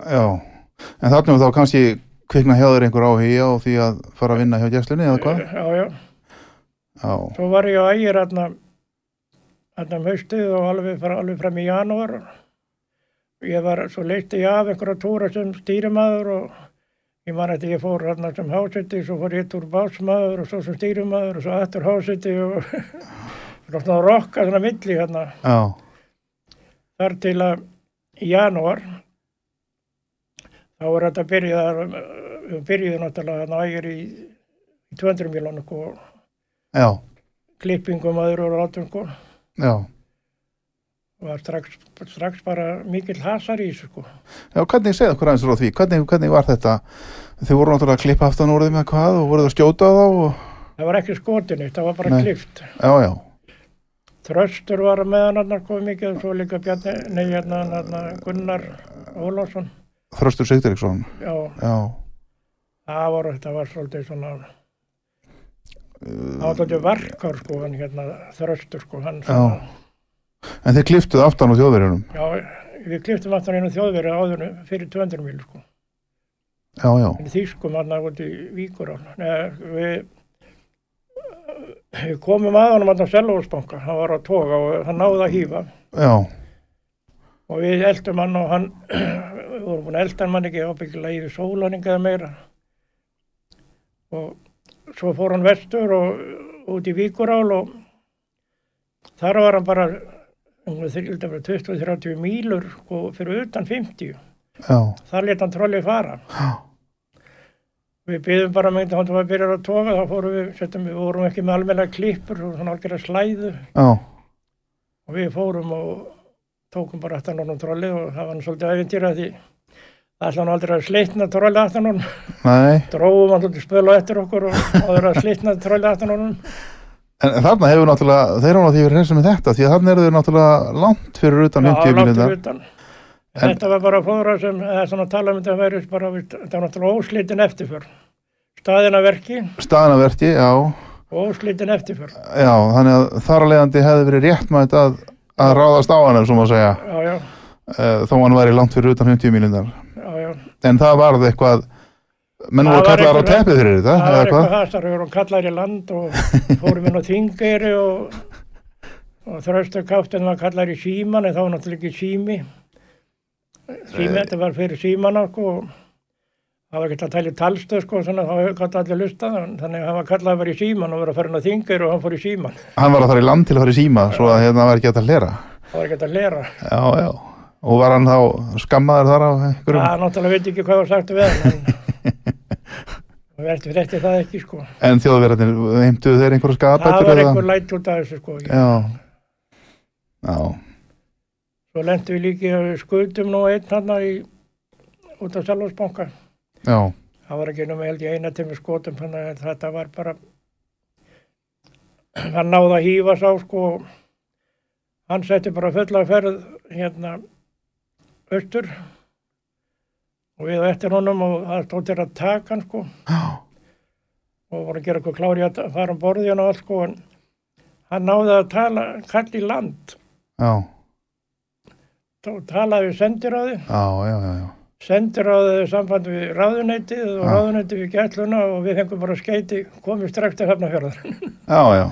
[SPEAKER 2] Já, en þarna er þá kannski kvikna hjá þér einhver áhugi á því að fara að vinna hjá gæslunni eða hvað?
[SPEAKER 3] já, já,
[SPEAKER 2] Já,
[SPEAKER 3] svo var ég á ægir aðna, aðna um haustið og alveg, fra- alveg fram í janúar. Ég var, svo leisti ég af einhverja túra sem stýrimaður og ég man eftir ég fór aðna sem hásetti, svo fór ég túr básmaður og svo sem stýrimaður og svo aftur hásetti og svona svona rokka svona milli aðna
[SPEAKER 2] já,
[SPEAKER 3] þar til að í janúar þá er þetta byrjað við byrjuðum náttúrulega að nægir í, í 200 miljónu sko,
[SPEAKER 2] já,
[SPEAKER 3] klippingum aður og látum sko
[SPEAKER 2] já.
[SPEAKER 3] var strax, strax bara mikill hasar í þessu sko
[SPEAKER 2] Já, hvernig segðu okkur aðeins frá því? Hvernig, hvernig var þetta? Þið voru náttúrulega að klippa aftan úr þeim eða hvað og voruð að skjóta þá og...
[SPEAKER 3] það var ekki skotin eitt, það var bara
[SPEAKER 2] Nei.
[SPEAKER 3] klippt
[SPEAKER 2] Já, já,
[SPEAKER 3] Þröstur var með hann hann sko mikið og svo líka Bjarni, nei hérna hann Gunnar Ólásson
[SPEAKER 2] Þröstur Sigduríksson,
[SPEAKER 3] já,
[SPEAKER 2] já.
[SPEAKER 3] það var, það var svolítið svona það var svolítið varkar sko hann hérna Þröstur sko hann
[SPEAKER 2] Já. En þið kliftuð aftan úr þjóðverjunum?
[SPEAKER 3] Já, við kliftum aftan inn á þjóðverið áður fyrir 200 mil, sko.
[SPEAKER 2] Já, já,
[SPEAKER 3] En þýskum hann að út í Víkurál. Nei, við, við komum að honum hann á Selvóðsbanka, hann var á toga og hann náði að hýfa.
[SPEAKER 2] já,
[SPEAKER 3] Og við eldum hann og hann, við vorum búin að elda hann mann ekki, ábyggilega yfir sólaninga eða meira. Og svo fór hann vestur og út í Víkurál og þar var hann bara, um, ég held að vera 20-30 mílur sko, fyrir utan 50.
[SPEAKER 2] já,
[SPEAKER 3] Þar let hann trollið fara. Við byggðum bara með þetta, hann var að byrja að toga, þá fórum við, settum, við vorum ekki með almenna klippur og svona algjörða slæðu
[SPEAKER 2] já,
[SPEAKER 3] og við fórum og tókum bara aftan honum trollið og það var hann svolítið æfintýra því það ætla hann aldrei að slitna trollið aftan honum,
[SPEAKER 2] nei.
[SPEAKER 3] dróðum hann svolítið spölu eftir okkur og áður að slitna trollið aftan honum.
[SPEAKER 2] En þarna hefur náttúrulega, þeir eru náttúrulega hreysum með þetta, því að þarna eru þau náttúrulega langt fyrir utan
[SPEAKER 3] Já,
[SPEAKER 2] 50
[SPEAKER 3] langt
[SPEAKER 2] mínúta.
[SPEAKER 3] fyrir utan. En Þetta var bara fóðra sem, eða svona tala um þetta væri bara, þetta var náttúrulega óslitin eftirför. Staðina verki
[SPEAKER 2] Staðanaverti, já,
[SPEAKER 3] og óslitin eftirför.
[SPEAKER 2] já, þannig að þar að leiðandi hefði verið réttmætt að, að ráðast á hann, sem að segja,
[SPEAKER 3] Já, já,
[SPEAKER 2] eh, þó hann væri langt fyrir utan 50 mínúta.
[SPEAKER 3] já, já.
[SPEAKER 2] En það varð eitthvað menn voru
[SPEAKER 3] Það var
[SPEAKER 2] kallar á
[SPEAKER 3] einhver-
[SPEAKER 2] teppið fyrir þetta
[SPEAKER 3] það
[SPEAKER 2] eða
[SPEAKER 3] var eitthvað
[SPEAKER 2] hvað?
[SPEAKER 3] hastarhugur og kallar í land og fórum inn á þingeri og, og þröstu kaftin var kallar í síman en þá var náttúrulega ekki sími sími, þetta var fyrir símana sko, og það var ekki að tala í talstöð sko, svona, þá gátt allir lusta þannig að hann var kallar að vera í síman og vera að fara inn á þingeri og hann fór í síman
[SPEAKER 2] hann var að fara í land til að fara í síma svo að hérna var ekki hægt að hlera
[SPEAKER 3] það var ekki að lera
[SPEAKER 2] já, já, og var hann þá skammaður þar á einhverjum
[SPEAKER 3] það náttúrulega veit ekki hvað var sagt við hann en við ertum frétti það ekki sko
[SPEAKER 2] en þjóðverðarnir, heimtuðu þeir einhverja
[SPEAKER 3] það
[SPEAKER 2] skapætur
[SPEAKER 3] var einhver læt út af þessu sko
[SPEAKER 2] já, já,
[SPEAKER 3] Svo lendum við líki að skutum nú einn hann í, út af Selvósbanka.
[SPEAKER 2] já
[SPEAKER 3] Það var ekki nema held ég eina tími skotum hann að þetta var bara hann náði að hýfa sá sko hann setti bara fulla ferð hérna austur og við á eftir honum og það stóð til að taka hann sko og voru að gera eitthvað klári að fara um borðið hann og allt sko en hann náði að tala kall í land
[SPEAKER 2] já,
[SPEAKER 3] og talaði við sendiráði
[SPEAKER 2] já, já, já, já.
[SPEAKER 3] sendir á þau samband við ráðuneytið og
[SPEAKER 2] Já.
[SPEAKER 3] ráðuneytið við gætluna og við fengum bara skeiti, komum strax til hafnafjörðar.
[SPEAKER 2] Já, já,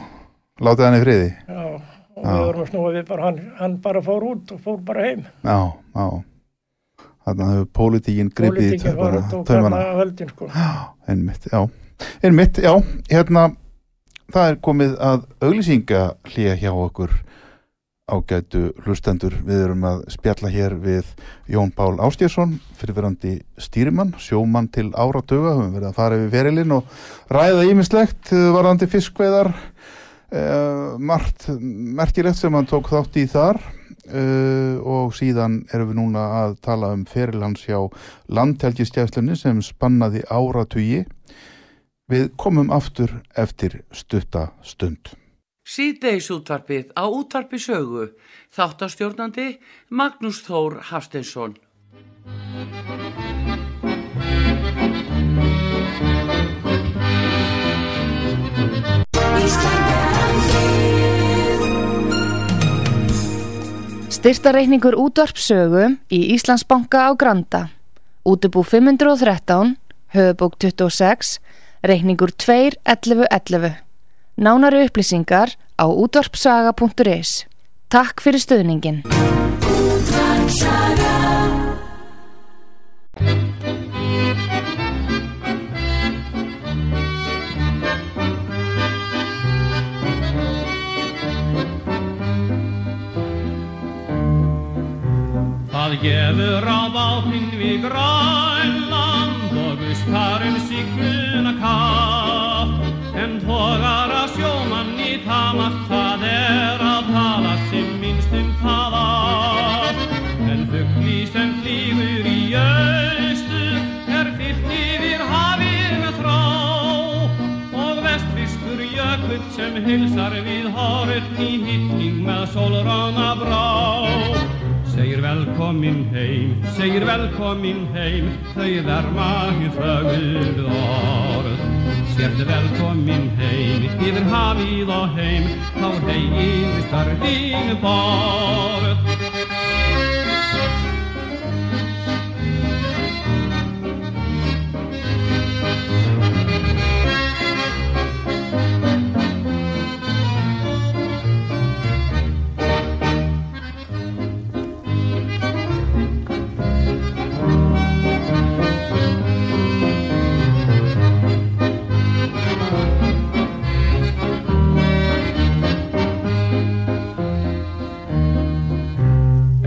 [SPEAKER 2] látið hann í friði
[SPEAKER 3] Já, og við vorum að snúa við bara, hann, hann bara fór út og fór bara heim.
[SPEAKER 2] Já, já Þannig að hefur pólitíkin gripið í
[SPEAKER 3] Pólitíkin var út og
[SPEAKER 2] taumana
[SPEAKER 3] kallaði völdin, sko.
[SPEAKER 2] Einmitt, já Einmitt, já, hérna Það er komið að auglýsinga hlýja hjá okkur ágætu hlustendur. Við erum að spjalla hér við Jón Pál Ástjörsson, fyrirverandi stýrimann, sjómann til áratuga, höfum verið að fara yfir verilinn og ræða ímislegt varðandi fiskveiðar, uh, margt merkilegt sem hann tók þátt í þar uh, og síðan erum við núna að tala um feril hans hjá landhelgistjæðslunni sem spannaði áratugi. Við komum aftur eftir stutta stund.
[SPEAKER 4] Síðdeis útvarpið á útvarpi sögu. Þáttastjórnandi Magnús Þór Hafsteinsson.
[SPEAKER 5] Styrtareikningur útvarpsögu í Íslandsbanka á Granda. Útibú 513, höfubók 26, reikningur 2.11.11. Nánari upplýsingar á útvarpsaga.is. Takk fyrir stöðningin.
[SPEAKER 6] Það gefur á bátinn við Grænland og gustar um sigluna kapp en tógar að sjómann í tamat það er að tala sem minnst um það að en fugli sem flýgur í austur er fyllt yfir hafið með þrá og vestfiskur jökull sem hilsar við horfn í hittning með sólrána brá Segir velkomin heim, segir velkomin heim, þau verma hér þögul orð. Sérðu velkomin heim, yfir hafið og heim, þá heim starfið borð.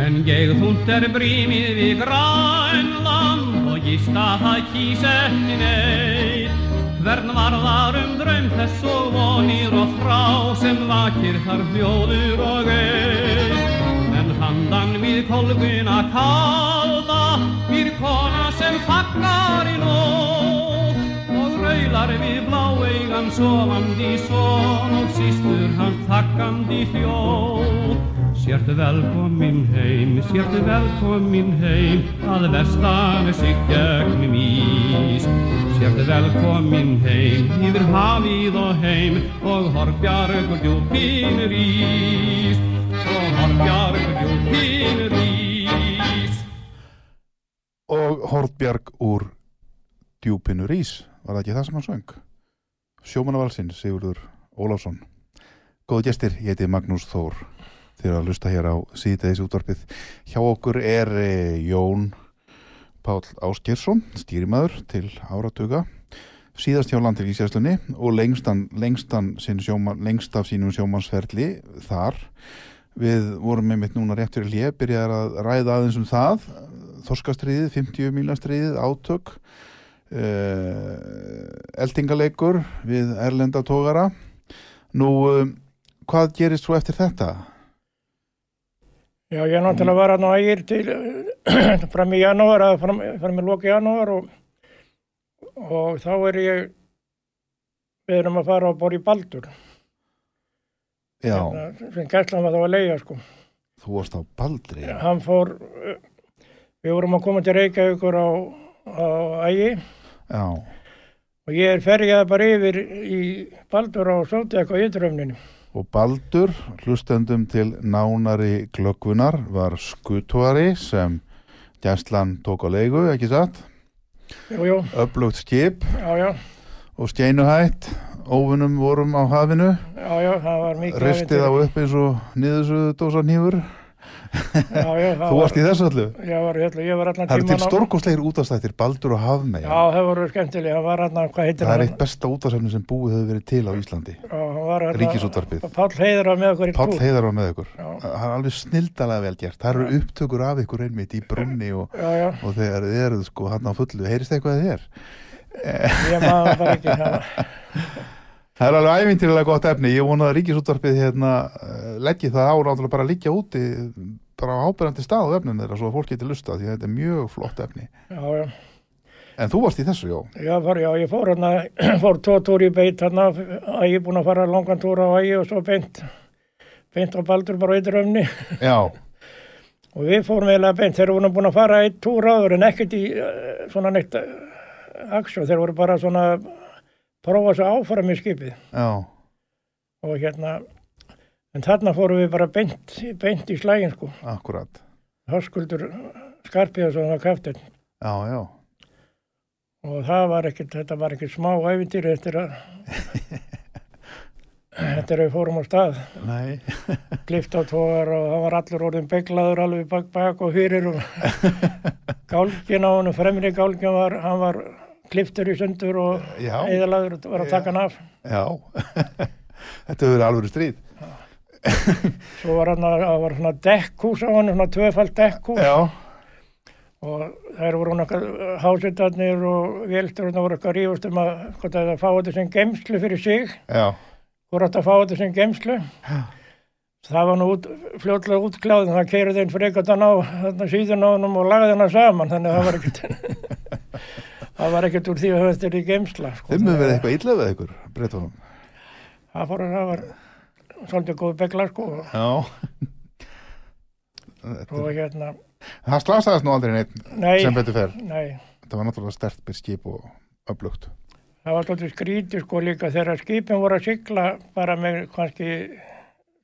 [SPEAKER 6] En ég þúnt er brímið við grænland og gista það kýs ekki neitt. Hvern varðar um draum þess og vonir og frá sem vakir þar hljóður og eitt. En handan við kolguna kalda, við kona sem fagnar í nótt. Og raular við bláeigan sofandi són og sístur hann takkandi hljóð. Sértu velkomin heim, sértu velkomin heim, að vestan er sig gegnum ís. Sértu velkomin heim, yfir hafið og heim, og horfjarg og djúpin rís. Og horfjarg og djúpin rís.
[SPEAKER 2] og Hortbjarg úr djúpinu rís var það ekki það sem hann söng sjómanavalsinn Sigurður Ólafsson Góðu gestir, ég heiti Magnús Þór þeir eru að lusta hér á síðdegis útvarpið hjá okkur er eh, Jón Páll Áskjesson stýrimaður til áratuga síðast hjá landilíkisjæslunni og lengstan, lengstan sinn sjóman, lengst af sínum sjómansferli þar við vorum með mitt núna rétt fyrir hlið byrjaðar að ræða aðeins um það þorskastriðið, 50 mílastriðið, átök uh, eldingaleikur við erlenda tógara nú, um, hvað gerist svo eftir þetta?
[SPEAKER 3] Já, ég náttúrulega var að ægir til eh, fram í janúar, eða fram, fram í loki janúar og, og þá er ég, við erum að fara að bora í Baldur,
[SPEAKER 2] Já,
[SPEAKER 3] hérna, sem gæslan var þá að leiða sko.
[SPEAKER 2] þú varst á Baldri
[SPEAKER 3] Hann fór, eh, við vorum að koma til Reykjavíkur á, á ægi
[SPEAKER 2] Já,
[SPEAKER 3] og ég er ferjaði bara yfir í Baldur á Sjóttek og Ytröfninu.
[SPEAKER 2] og Baldur hlustendum til nánari glöggvunar var skutuari sem gæslan tók á leigu, ekki satt
[SPEAKER 3] Jú, jú,
[SPEAKER 2] öflugt skip
[SPEAKER 3] já, já,
[SPEAKER 2] og steinuhætt óvinnum vorum á hafinu
[SPEAKER 3] já, já, það var mikið.
[SPEAKER 2] ristið á upp eins og niðursuðu dósa nýfur
[SPEAKER 3] Já, já, það
[SPEAKER 2] þú varst í þessu allu
[SPEAKER 3] Já, var, ég, ætla- ég var allan
[SPEAKER 2] það eru til
[SPEAKER 3] tímann á-
[SPEAKER 2] stórkostlegir útastættir Baldur og
[SPEAKER 3] Já,
[SPEAKER 2] Hafmeyja
[SPEAKER 3] það voru skemmtilega, hann var hérna, hvað heitir
[SPEAKER 2] það er
[SPEAKER 3] hann?
[SPEAKER 2] eitt besta útasefni sem búið hefur verið til á Íslandi
[SPEAKER 3] Já, hann var hérna-
[SPEAKER 2] Ríkisútvarpið.
[SPEAKER 3] Páll Heiðar var með okkur í
[SPEAKER 2] Páll
[SPEAKER 3] klúbb.
[SPEAKER 2] Heiðar var með ykkur
[SPEAKER 3] Já.
[SPEAKER 2] það er alveg snildalega vel gert það eru upptökur af ykkur einmitt í brunni og,
[SPEAKER 3] Já, já,
[SPEAKER 2] og þegar þið eruð sko hann á fullu heyrist eitthvað að þér
[SPEAKER 3] ég maður bara ekki það.
[SPEAKER 2] það er alveg æfintilega gott efni ég vona að ríkisútvarpið hérna eh, leggi það á náttúrulega bara að liggja úti bara á ábyrjandi stað á efnum þeirra svo að fólk geti lusta því að þetta er mjög flott efni
[SPEAKER 3] Já, já,
[SPEAKER 2] en þú varst í þessu, já
[SPEAKER 3] já, fór, já, ég fór hérna, fór tvo túr í beit hérna, að ég er búin að fara langan túr á ægi og svo beint, beint á Baldur bara eitt röfni
[SPEAKER 2] Já,
[SPEAKER 3] og við fórum eiginlega beint, þeir voru búin að fara eitt túr áður en ekkert í eh, svona neitt eh, aksjó, þeir voru bara svona að prófa svo áfram í skipið.
[SPEAKER 2] já,
[SPEAKER 3] og hérna en þarna fórum við bara beint, beint í slægin sko,
[SPEAKER 2] akkurat
[SPEAKER 3] höskuldur skarpið og svona kaftin
[SPEAKER 2] Já, já,
[SPEAKER 3] og það var ekkert, þetta var ekkert smá æfintýri eftir að eftir að við fórum á stað
[SPEAKER 2] nei
[SPEAKER 3] klift á tógar og það var allur orðin beglaður alveg bak bak og fyrir og gálgin á hann, fremri gálgin var, hann var kliftur í sundur og
[SPEAKER 2] Já.
[SPEAKER 3] eðalagur var að taka hann af
[SPEAKER 2] Já, þetta hefur verið alvöru stríð
[SPEAKER 3] svo var hann að, það var svona dekkhús á hann, svona tvöfald dekkhús
[SPEAKER 2] Já,
[SPEAKER 3] og þær voru nokkað hásutarnir og vélsturinn voru eitthvað rífust um að hvort að það fá þetta sem gemslu fyrir sig
[SPEAKER 2] já,
[SPEAKER 3] voru átt að fá þetta sem gemslu það var nú út, fljótlega útkláð en það keirði þeim frekartan á þarna síðan á honum og lagði hana saman þannig að það var ekkert það var ekkert úr því að þetta er í gemsla sko.
[SPEAKER 2] þeim hefur verið eitthvað illa við ykkur, breytunum
[SPEAKER 3] það, fór, það var svolítið góð begla sko og-
[SPEAKER 2] Já Þetta-
[SPEAKER 3] og hérna,
[SPEAKER 2] Það slasaðast nú aldrei neitt
[SPEAKER 3] nei,
[SPEAKER 2] sem betur fer
[SPEAKER 3] nei
[SPEAKER 2] Þetta var náttúrulega stert byrð skip og öflugt
[SPEAKER 3] það var svolítið skrítið sko líka þegar skipin voru að sigla bara með kannski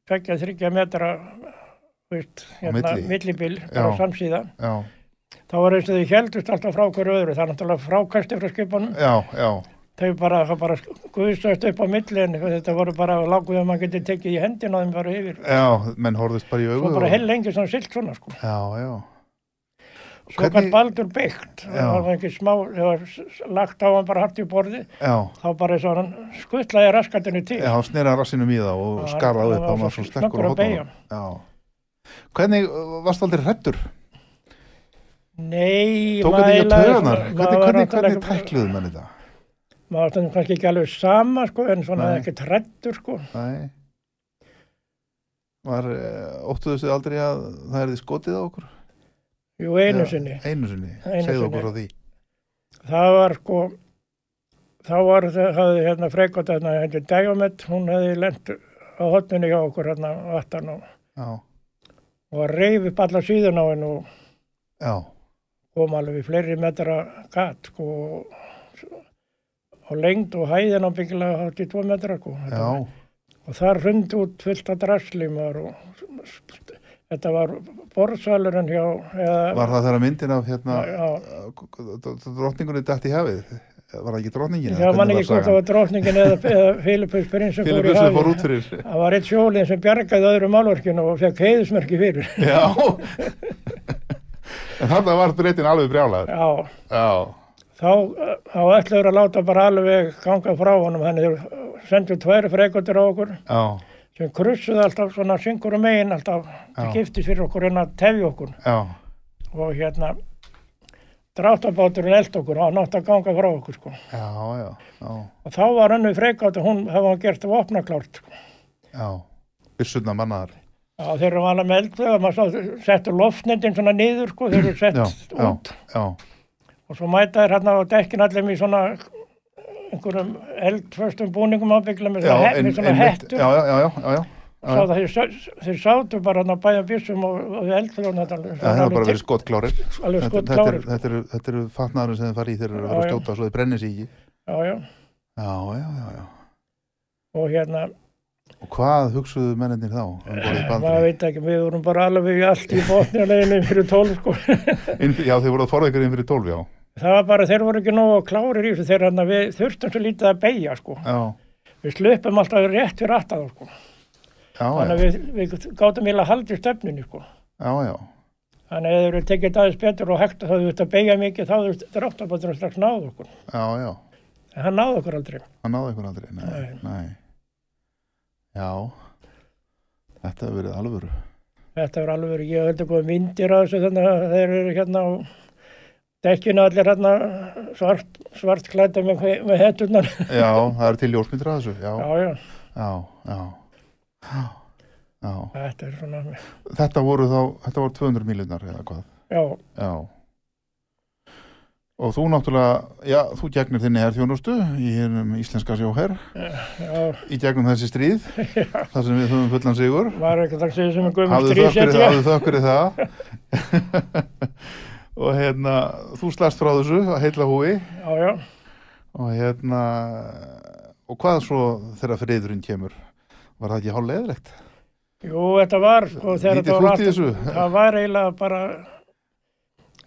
[SPEAKER 3] 2-3 metra þú veist, hérna,
[SPEAKER 2] milli.
[SPEAKER 3] millibil bara
[SPEAKER 2] Já.
[SPEAKER 3] samsíða,
[SPEAKER 2] Já,
[SPEAKER 3] þá var eins og þau heldust alltaf frá hverju öðru, það er náttúrulega frákasti frá skipunum,
[SPEAKER 2] já, já,
[SPEAKER 3] þau bara, það bara guðsast upp á milliðin, þetta voru bara láguð að maður geti tekið í hendina á þeim bara yfir,
[SPEAKER 2] já menn horfðist bara í augu
[SPEAKER 3] svo bara
[SPEAKER 2] og-
[SPEAKER 3] hell lengi svona silt svona sko,
[SPEAKER 2] Já, já,
[SPEAKER 3] svo Hvernig...
[SPEAKER 2] Hvernig-
[SPEAKER 3] kann baldur byggt
[SPEAKER 2] Já.
[SPEAKER 3] það var ekki smá, það var s- s- lagt á hann bara haft í borði,
[SPEAKER 2] já
[SPEAKER 3] þá bara svona skuttlaði raskatinu til
[SPEAKER 2] Já, hann snera rassinum í það og
[SPEAKER 3] Já,
[SPEAKER 2] skaraði
[SPEAKER 3] hann
[SPEAKER 2] upp
[SPEAKER 3] var
[SPEAKER 2] hann var svo
[SPEAKER 3] svo
[SPEAKER 2] sterkur á
[SPEAKER 3] snöggur að beygja.
[SPEAKER 2] hóttunum Já Hvernig, uh, varstu aldrei hrettur?
[SPEAKER 3] Nei,
[SPEAKER 2] Tók þetta ekki á
[SPEAKER 3] eiginlega
[SPEAKER 2] töðunar?
[SPEAKER 3] svona-
[SPEAKER 2] Hvernig,
[SPEAKER 3] maður var
[SPEAKER 2] hvernig, hvernig
[SPEAKER 3] náttúrulega-
[SPEAKER 2] tækluðu menn þetta?
[SPEAKER 3] Maður var stundum kannski ekki alveg sama sko, en svona
[SPEAKER 2] Nei.
[SPEAKER 3] ekki trættur sko.
[SPEAKER 2] Nei. Var, eh, óttuðu þið aldrei að það er því skotið á okkur?
[SPEAKER 3] Jú, einu
[SPEAKER 2] Eða-
[SPEAKER 3] sinni.
[SPEAKER 2] Einu sinni,
[SPEAKER 3] Einu
[SPEAKER 2] segðu
[SPEAKER 3] sinni.
[SPEAKER 2] okkur á því.
[SPEAKER 3] Það var sko, þá var það, hafði hérna frekot hérna, hérna Dægumett, hún hefði lent á hotninu hjá okkur hérna vattan og,
[SPEAKER 2] Já,
[SPEAKER 3] og reyf upp alla síðan á henn og
[SPEAKER 2] já,
[SPEAKER 3] kom alveg í fleiri metra gat sko og, og lengd og hæðin á byggilega hátt í tvo metra sko. Þetta
[SPEAKER 2] já,
[SPEAKER 3] og þar hrundi út fullt af drasli maður og Þetta var borðsalurinn hjá, eða,
[SPEAKER 2] Var það þegar myndin af hérna
[SPEAKER 3] já,
[SPEAKER 2] drottningunni dætt í hafið? Var það ekki drottningin?
[SPEAKER 3] Já, mann ekki hvort það var drókningin eða, eða Filipus prins sem fór í
[SPEAKER 2] Filipus sem fór út
[SPEAKER 3] hafið.
[SPEAKER 2] fyrir.
[SPEAKER 3] Það var eitt sjólinn sem bjargaði öðru málverkinu og fekk heiðismerki fyrir.
[SPEAKER 2] Já. en þarna var breytin alveg brjálaður.
[SPEAKER 3] Já,
[SPEAKER 2] Já.
[SPEAKER 3] þá, þá ætlaður að láta bara alveg ganga frá honum. Þannig þeir sendu tvær frekundir á okkur
[SPEAKER 2] Já.
[SPEAKER 3] sem krussuði alltaf svona syngur um megin alltaf.
[SPEAKER 2] Já.
[SPEAKER 3] Það gifti fyrir okkur en að tefja okkur
[SPEAKER 2] Já.
[SPEAKER 3] og hérna dráttabáturinn eld okkur og hann átti að ganga frá okkur sko.
[SPEAKER 2] Já, já. Já.
[SPEAKER 3] Og þá var hennu frekátt og hún hefði hann gert vopnaklárt sko.
[SPEAKER 2] Já. Byssurna mannaðar.
[SPEAKER 3] Já, þeir eru alveg með eldflöga, maður sá, settu loftnendin svona niður, sko, þeir eru sett
[SPEAKER 2] Já. Já.
[SPEAKER 3] út
[SPEAKER 2] Já.
[SPEAKER 3] og svo mæta þeir hérna á dekkin allir í svona einhverjum eldföstum búningum ábyggla með svona, he
[SPEAKER 2] en-
[SPEAKER 3] með svona
[SPEAKER 2] einmitt.
[SPEAKER 3] hettur.
[SPEAKER 2] Já, já, já, já, já, já.
[SPEAKER 3] Sá það, þeir, sá- þeir sátu bara hérna bæja byssum og, og eldflögun þetta alveg.
[SPEAKER 2] Það hefur bara verið skotklárir.
[SPEAKER 3] Alveg
[SPEAKER 2] Þetta- þetta
[SPEAKER 3] skotklárir,
[SPEAKER 2] eru-
[SPEAKER 3] sko.
[SPEAKER 2] Þetta eru- þetta eru fatnaðurinn sem þeir fara í þegar þeir eru að fara að
[SPEAKER 3] Já, já.
[SPEAKER 2] skjóta svo þeir brennir sig ekki.
[SPEAKER 3] Já, já,
[SPEAKER 2] Já, já, já, já.
[SPEAKER 3] og hérna,
[SPEAKER 2] Og hvað hugsuðu menninir þá? Um borðið
[SPEAKER 3] maður
[SPEAKER 2] bandri?
[SPEAKER 3] veit ekki, við vorum bara alveg í allt í botnjarleginu fyrir tólf, sko.
[SPEAKER 2] Inn, já, þeir voruð forðekar inn fyrir 12, já.
[SPEAKER 3] það var bara, þeir voru ekki nógu klárir í þessu, þeir hérna, við þurftum svo lítið að beigja, sko.
[SPEAKER 2] Já,
[SPEAKER 3] Við slupum alltaf rétt fyrir aftan, þá, sko.
[SPEAKER 2] já, já.
[SPEAKER 3] Þannig að við, við gátum eiginlega haldið stöfnunni sko.
[SPEAKER 2] Já, já.
[SPEAKER 3] Þannig að ef þeir eru tekið þetta aðeins betur og hægt þá hefðu þetta beigja mikið þá hefðu dráttabáturinn strax náð okkur.
[SPEAKER 2] Já, já.
[SPEAKER 3] En hann náð okkur aldrei.
[SPEAKER 2] Hann náði ykkur aldrei. Nei, nei. Já. Þetta hefur verið alvöru.
[SPEAKER 3] Þetta var alveg, verið- ég held eitthvað myndir af þessu þannig að þeir eru hérna á dekkinu allir hérna svart, svart klæta með, með hetturnar.
[SPEAKER 2] Já, það eru til ljósmyndir að þessu. Já,
[SPEAKER 3] já, já,
[SPEAKER 2] já, já. Já.
[SPEAKER 3] þetta er svona,
[SPEAKER 2] Þetta voru þá, þetta voru 200 miljonar eða hvað.
[SPEAKER 3] já,
[SPEAKER 2] Já. Og þú náttúrulega, já, þú gegnir þinni herþjónustu í hennum íslenska sjóherr
[SPEAKER 3] já,
[SPEAKER 2] í gegnum þessi stríð, þar sem við höfum fullan sigur.
[SPEAKER 3] var eitthvað takk sem er guðmur
[SPEAKER 2] hafðu þökk fyrir það,
[SPEAKER 3] stríðsetja.
[SPEAKER 2] hafðu þökk fyrir það og hérna þú slast frá þessu að heilla húi
[SPEAKER 3] Já, já,
[SPEAKER 2] og hérna og hvað svo þegar friðurinn kemur var það ekki hálf leðilegt
[SPEAKER 3] jú, þetta var sko
[SPEAKER 2] Lítið
[SPEAKER 3] þegar þetta var
[SPEAKER 2] flott í þessu.
[SPEAKER 3] það var eiginlega bara,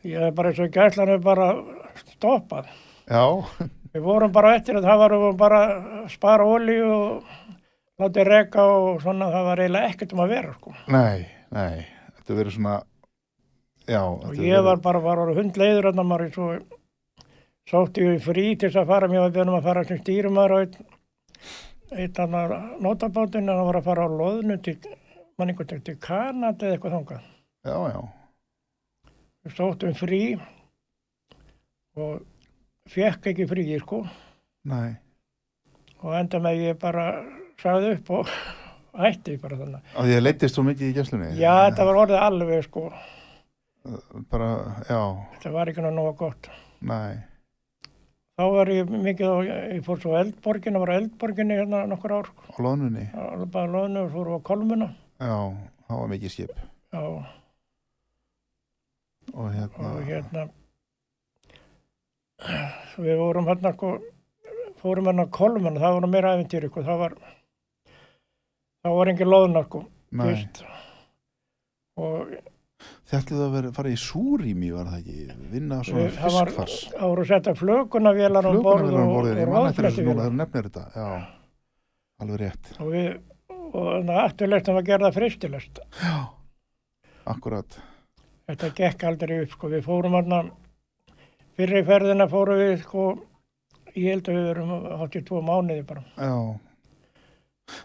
[SPEAKER 3] ég er bara eins og gæslan er bara stoppað.
[SPEAKER 2] já,
[SPEAKER 3] Við vorum bara eftir að það varum við bara að spara olíu og látið reka og svona það var eiginlega ekkert um að vera sko.
[SPEAKER 2] nei, nei þetta verið svona já, þetta
[SPEAKER 3] Og
[SPEAKER 2] hefur
[SPEAKER 3] ég
[SPEAKER 2] verið-
[SPEAKER 3] var bara var orðið hundleiður þannig að maður svo sótti ég í frí til þess að fara mér var beðnum að fara sem stýrumar og einn eitt annar notabátinn en hann var að fara á loðnu til mann einhvern veginn til Kanada eða eitthvað þangað.
[SPEAKER 2] já, já,
[SPEAKER 3] Við sóttum um frí og fekk ekki frí sko.
[SPEAKER 2] nei
[SPEAKER 3] og enda með ég bara sagði upp og hætti bara þannig.
[SPEAKER 2] að ég leittist svo mikið í gæslunni
[SPEAKER 3] Já, þetta var orðið alveg sko,
[SPEAKER 2] bara, já,
[SPEAKER 3] þetta var ekki náttúrulega gott.
[SPEAKER 2] nei
[SPEAKER 3] Þá var ég mikið og ég fór svo á eldborgin og var á eldborginni hérna nokkur ár, sko,
[SPEAKER 2] á lónunni,
[SPEAKER 3] alveg bara loðinu og fór á kolmuna.
[SPEAKER 2] já, það var mikið skip
[SPEAKER 3] Já,
[SPEAKER 2] og hérna,
[SPEAKER 3] og hérna, svo við vorum hérna sko, fórum hérna á kolmuna, það var nú meira æfintýri sko, það var, það var engin loðna sko,
[SPEAKER 2] nei
[SPEAKER 3] fyrst. Og
[SPEAKER 2] Þið ætluðu að vera, fara í súrými var það ekki, vinna svona
[SPEAKER 3] Við- það var-
[SPEAKER 2] fiskfars.
[SPEAKER 3] það voru setta flökunavélar á
[SPEAKER 2] Flugmannavélar
[SPEAKER 3] borð
[SPEAKER 2] um
[SPEAKER 3] og,
[SPEAKER 2] borðin,
[SPEAKER 3] og
[SPEAKER 2] ég man eftir þessu núna,
[SPEAKER 3] ráðflettuvélar.
[SPEAKER 2] þegar þú nefnir þetta, já, alveg rétt,
[SPEAKER 3] og við og þannig að afturlestin var gerða fristilest
[SPEAKER 2] akkurat,
[SPEAKER 3] þetta gekk aldrei upp sko við fórum hann fyrir ferðina fórum við sko ég held að við verum 82 mánuði bara
[SPEAKER 2] já.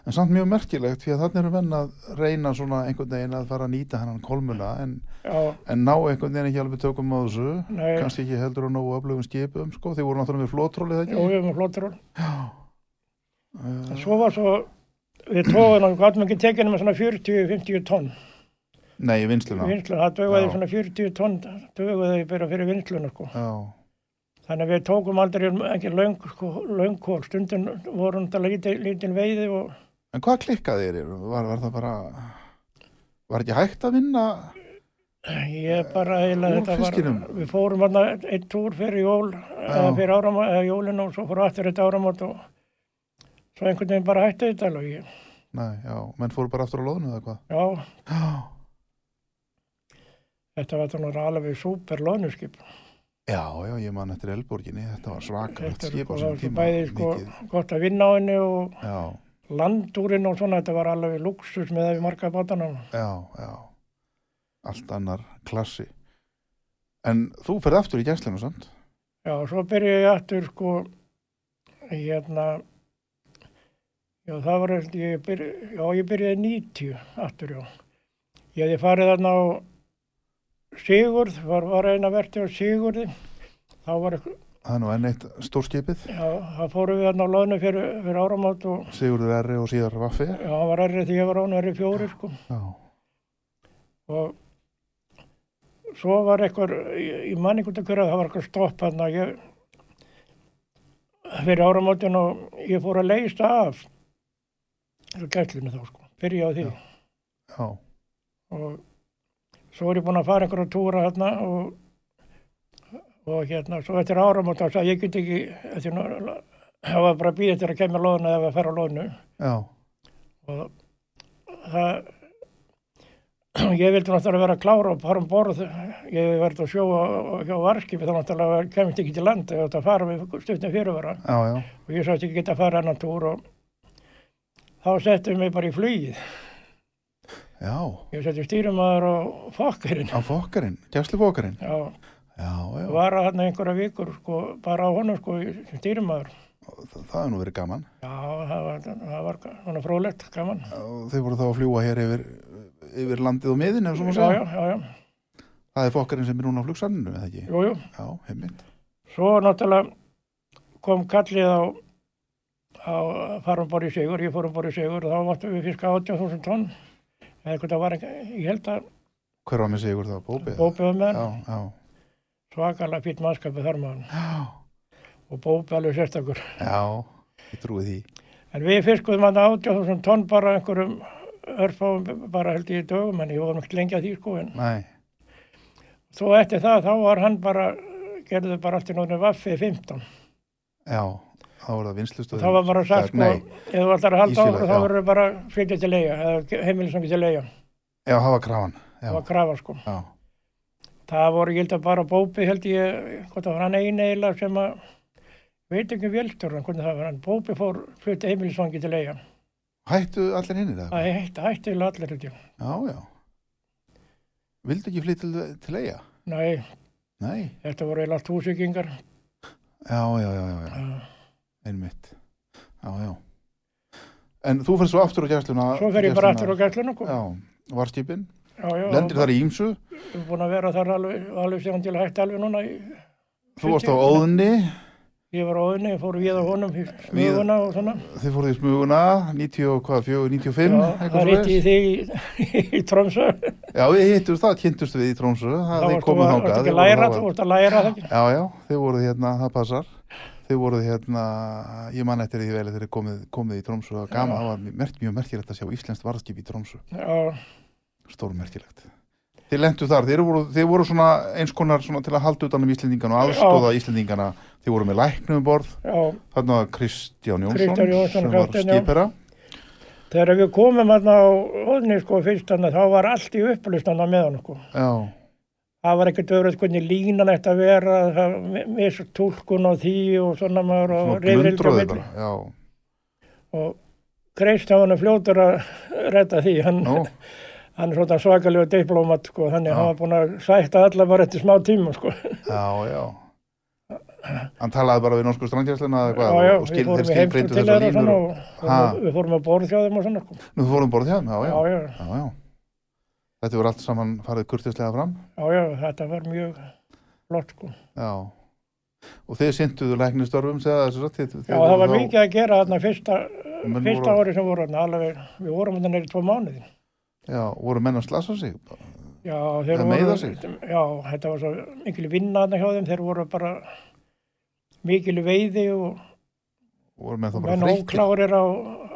[SPEAKER 2] En samt mjög merkilegt, því að þannig eru menn að reyna svona einhvern veginn að fara að nýta hennan kolmuna, en,
[SPEAKER 3] já,
[SPEAKER 2] en ná einhvern veginn ekki alveg tökum á þessu,
[SPEAKER 3] nei,
[SPEAKER 2] kannski ekki heldur á nógu öflugum skipum, sko, þið voru náttúrulega með flótrólið
[SPEAKER 3] jú,
[SPEAKER 2] ekki?
[SPEAKER 3] við erum flottur úr
[SPEAKER 2] Uh,
[SPEAKER 3] svo var svo við tóðum og gáttum ekki tekinu með svona 40-50 tonn
[SPEAKER 2] nei, í vinsluna,
[SPEAKER 3] vinslun, það dögaði
[SPEAKER 2] Já.
[SPEAKER 3] svona 40 tonn dögaði bara fyrir vinsluna sko
[SPEAKER 2] já,
[SPEAKER 3] þannig að við tókum aldrei ekki löng, sko, löngkól stundum vorum þetta lítið, lítið veiði og
[SPEAKER 2] en hvað klikkaði þér, var, var það bara, var ekki hægt að vinna,
[SPEAKER 3] Ég bara eiginlega
[SPEAKER 2] Úr
[SPEAKER 3] þetta
[SPEAKER 2] fiskinum?
[SPEAKER 3] var, við fórum hérna eitt túr fyrir jól, eða fyrir áram, eða jólinu og svo fórum við aftur eitt áramót og svo einhvern veginn bara hætti þetta alveg. Ég-
[SPEAKER 2] nei, já, menn fóru bara aftur á loðinu eða hvað?
[SPEAKER 3] Já,
[SPEAKER 2] Já,
[SPEAKER 3] Þetta var þannig alveg súper lónuskip.
[SPEAKER 2] Já, já, ég man eftir Elborginni, þetta var svakalegt
[SPEAKER 3] Þetta er
[SPEAKER 2] skip á
[SPEAKER 3] sko,
[SPEAKER 2] þessum
[SPEAKER 3] það var sko
[SPEAKER 2] tíma.
[SPEAKER 3] bæði sko
[SPEAKER 2] mikið.
[SPEAKER 3] gott að vinna á henni og
[SPEAKER 2] Já,
[SPEAKER 3] landúrin og svona, þetta var alveg luxus með það við marga bátana.
[SPEAKER 2] já, já. Allt annar klassi. En þú ferð aftur í gæslinu samt?
[SPEAKER 3] Já, og svo byrjaði ég aftur sko, hérna, já það var, held ég, byrja, já ég byrjaði 90 aftur, já. Ég hefði farið þarna á Sigurð, var, var eina verti á Sigurði, þá var,
[SPEAKER 2] Það er nú enn eitt stórskipið,
[SPEAKER 3] já, það fórum við þarna á loðinu fyrir, fyrir áramót og
[SPEAKER 2] Sigurður Erri og síðar Vaffi.
[SPEAKER 3] já, hann var errið því ég var án errið fjóri, sko.
[SPEAKER 2] Já,
[SPEAKER 3] og svo var eitthvað, ég ég man einhvern veginn að það var eitthvað stopp hann að ég fyrir áramótin og ég fór að leysa af gætlunni þá sko, byrja á því
[SPEAKER 2] já,
[SPEAKER 3] og svo er ég búinn að fara einhverja túra hérna og, og hérna, svo eftir áramót þá sagði ég, ég get ekki, eftir, nú- það var bara að býða eftir að kemja lóðinu eða að fara á lóðinu
[SPEAKER 2] já,
[SPEAKER 3] og það ég vildi náttúrulega vera klára og fara um borð ég hef verið að sjóa og hjá varskipi þá náttúrulega kemst ekki til land ég átti að fara með stundin fyrirvara
[SPEAKER 2] já, já,
[SPEAKER 3] og ég sagðist ekki geta að fara annan túr og þá settum mig bara í flugið
[SPEAKER 2] já,
[SPEAKER 3] ég setti stýrumaður og fokkerinn
[SPEAKER 2] á fokkarinn, gæslufokkarinn.
[SPEAKER 3] já,
[SPEAKER 2] Já, já,
[SPEAKER 3] var að þarna einhverja vikur sko, bara á honum sko, sem stýrumaður
[SPEAKER 2] það, það er nú verið gaman.
[SPEAKER 3] já, það var, það var svona frólægt gaman
[SPEAKER 2] Og Þau voru þá að fljúa hér yfir, yfir landið og miðin, ef svo má
[SPEAKER 3] já, já,
[SPEAKER 2] segja.
[SPEAKER 3] já, já,
[SPEAKER 2] Það er fokkarinn sem er núna á flugsanninu, eða ekki?
[SPEAKER 3] jú, jú
[SPEAKER 2] Já, heimilt.
[SPEAKER 3] Svo náttúrulega kom kallið á, á farumborði sigur, ég fórumborði sigur og þá vartum við fiska 80.000 tonn eða eitthvað það var ekki, ég held að
[SPEAKER 2] Hver var með Sigur það? Bóbið?
[SPEAKER 3] Bóbi var með
[SPEAKER 2] Já,
[SPEAKER 3] hann,
[SPEAKER 2] já,
[SPEAKER 3] svakalega fýtt mannskapið þar maður
[SPEAKER 2] já,
[SPEAKER 3] og Bóbi alveg sérstakur.
[SPEAKER 2] já, ég trúi því.
[SPEAKER 3] En við fiskuðum hann 80.000 tonn bara einhverjum örfáum bara held ég í dögum en ég vorum ekki lengi að því sko en
[SPEAKER 2] Nei,
[SPEAKER 3] svo eftir það þá var hann bara gerðu bara allt í nóðinu vaffi 15
[SPEAKER 2] já, þá voru það vinslustöðin.
[SPEAKER 3] þá var bara sagt sko,
[SPEAKER 2] Nei,
[SPEAKER 3] ef þú ætlar að halda
[SPEAKER 2] Ísfélag,
[SPEAKER 3] okkur þá
[SPEAKER 2] já.
[SPEAKER 3] verður bara að flytja til eiga eða heimilisangið til eiga
[SPEAKER 2] já, það var krafan. Já,
[SPEAKER 3] það var krafa sko.
[SPEAKER 2] já,
[SPEAKER 3] Það voru, ég held að bara Bóbi held ég, hvort það var hann einu eiginlega sem að, ég veit ekki um vélstjóran hvernig það var hann, Bóbi fór flutti heimilisvangi til eiga.
[SPEAKER 2] hættu allir hinnir það?
[SPEAKER 3] Það hætti, hætti eiginlega allir held ég.
[SPEAKER 2] Já, já. Vildu ekki flytta til, til eiga?
[SPEAKER 3] Nei,
[SPEAKER 2] Nei.
[SPEAKER 3] þetta voru eiginlega allt húsvíkingar.
[SPEAKER 2] Já, já, já, já, já.
[SPEAKER 3] Já. Ah.
[SPEAKER 2] einmitt. Já, já. En þú fyrir svo aftur á gæsluna.
[SPEAKER 3] Svo fer ég bara aftur á gætlun okkur.
[SPEAKER 2] Já, varskipin.
[SPEAKER 3] já, já.
[SPEAKER 2] Lendir þar í Ímsu.
[SPEAKER 3] Ég er búin að vera þar alveg, alveg sem til að hætti alveg núna. Ég,
[SPEAKER 2] Þú varst á Óðunni,
[SPEAKER 3] ég var á öðinni, ég fór við á honum, í smuguna og svona.
[SPEAKER 2] þið fóruð í smuguna, 90 og hvað, 4, 95,
[SPEAKER 3] Já,
[SPEAKER 2] eitthvað
[SPEAKER 3] það
[SPEAKER 2] svo
[SPEAKER 3] reytti ég þig í, í Tromsö.
[SPEAKER 2] Já, við hittum það, kynntumst við í Trómsu, það
[SPEAKER 3] Það
[SPEAKER 2] þið
[SPEAKER 3] varstu
[SPEAKER 2] komið
[SPEAKER 3] að-
[SPEAKER 2] þangað.
[SPEAKER 3] varstu ekki
[SPEAKER 2] þið voruð
[SPEAKER 3] að læra,
[SPEAKER 2] þá
[SPEAKER 3] þú varst að læra það ekki.
[SPEAKER 2] Já, já, þið voruð hérna, það passar. Þið voruð hérna, ég man eftir því vel að þið er komið, komið í Trómsu, það var gaman, það var merkt, mjög merkilegt að sjá Íslenskt varðskip í Trómsu,
[SPEAKER 3] Já.
[SPEAKER 2] stórmerkilegt. Þið lendu þar, þið voru, þið voru svona eins konar svona til að halda utan um Íslendingana og aðstóða Íslendingana, þið voru með læknum um borð,
[SPEAKER 3] Já,
[SPEAKER 2] þarna var Kristján Jónsson,
[SPEAKER 3] Kristján Jónsson,
[SPEAKER 2] sem var
[SPEAKER 3] kapteinn, já.
[SPEAKER 2] skipera.
[SPEAKER 3] Þegar við komum hérna á Óðni sko fyrst þannig þá var allt í upplustana með hann sko.
[SPEAKER 2] Já,
[SPEAKER 3] Það var ekkert öðruð hvernig línan ætti að vera, það missa tólkun á því og svona maður og
[SPEAKER 2] svona
[SPEAKER 3] rifrildi á
[SPEAKER 2] blundruðu
[SPEAKER 3] milli.
[SPEAKER 2] bara, já,
[SPEAKER 3] Og Kristján hann er fljótur að redda því, hann,
[SPEAKER 2] nú,
[SPEAKER 3] hann er svona svakalega diplomat sko, þannig
[SPEAKER 2] Já.
[SPEAKER 3] að hann var búin að sætta alla bara eftir smá tíma sko.
[SPEAKER 2] já, já. Hann talaði bara við norsku strandjæsluna eða hvað og- og skil, þeir
[SPEAKER 3] við fórum í heimsum
[SPEAKER 2] skilbreytu
[SPEAKER 3] til
[SPEAKER 2] þessar
[SPEAKER 3] þeirra og
[SPEAKER 2] línur
[SPEAKER 3] svona
[SPEAKER 2] og,
[SPEAKER 3] og,
[SPEAKER 2] Ha.
[SPEAKER 3] og við fórum að borð hjá þeim og svona sko.
[SPEAKER 2] nú fórum borð hjá, þeim, já, já.
[SPEAKER 3] Já, já,
[SPEAKER 2] Já, já. Þetta voru allt saman farið kurtislega fram.
[SPEAKER 3] já, já, þetta var mjög flott sko.
[SPEAKER 2] Já. Og þið synduðu læknistörfum, segja þessu satt. Þið,
[SPEAKER 3] Já, það var mikið að gera þarna fyrsta,
[SPEAKER 2] Menn
[SPEAKER 3] fyrsta
[SPEAKER 2] voru-
[SPEAKER 3] ári sem voru þarna, alveg, við vorum þarna neyri tvo mánuði.
[SPEAKER 2] Já, voru menn að slasa sig.
[SPEAKER 3] Já,
[SPEAKER 2] Að
[SPEAKER 3] þeir
[SPEAKER 2] meiða
[SPEAKER 3] voru,
[SPEAKER 2] sig?
[SPEAKER 3] já, þetta var svo mikil vinna þarna hjá þeim, þeir voru bara mikil veiði og
[SPEAKER 2] Voru menn þá bara
[SPEAKER 3] menn
[SPEAKER 2] freykir.
[SPEAKER 3] óklárir á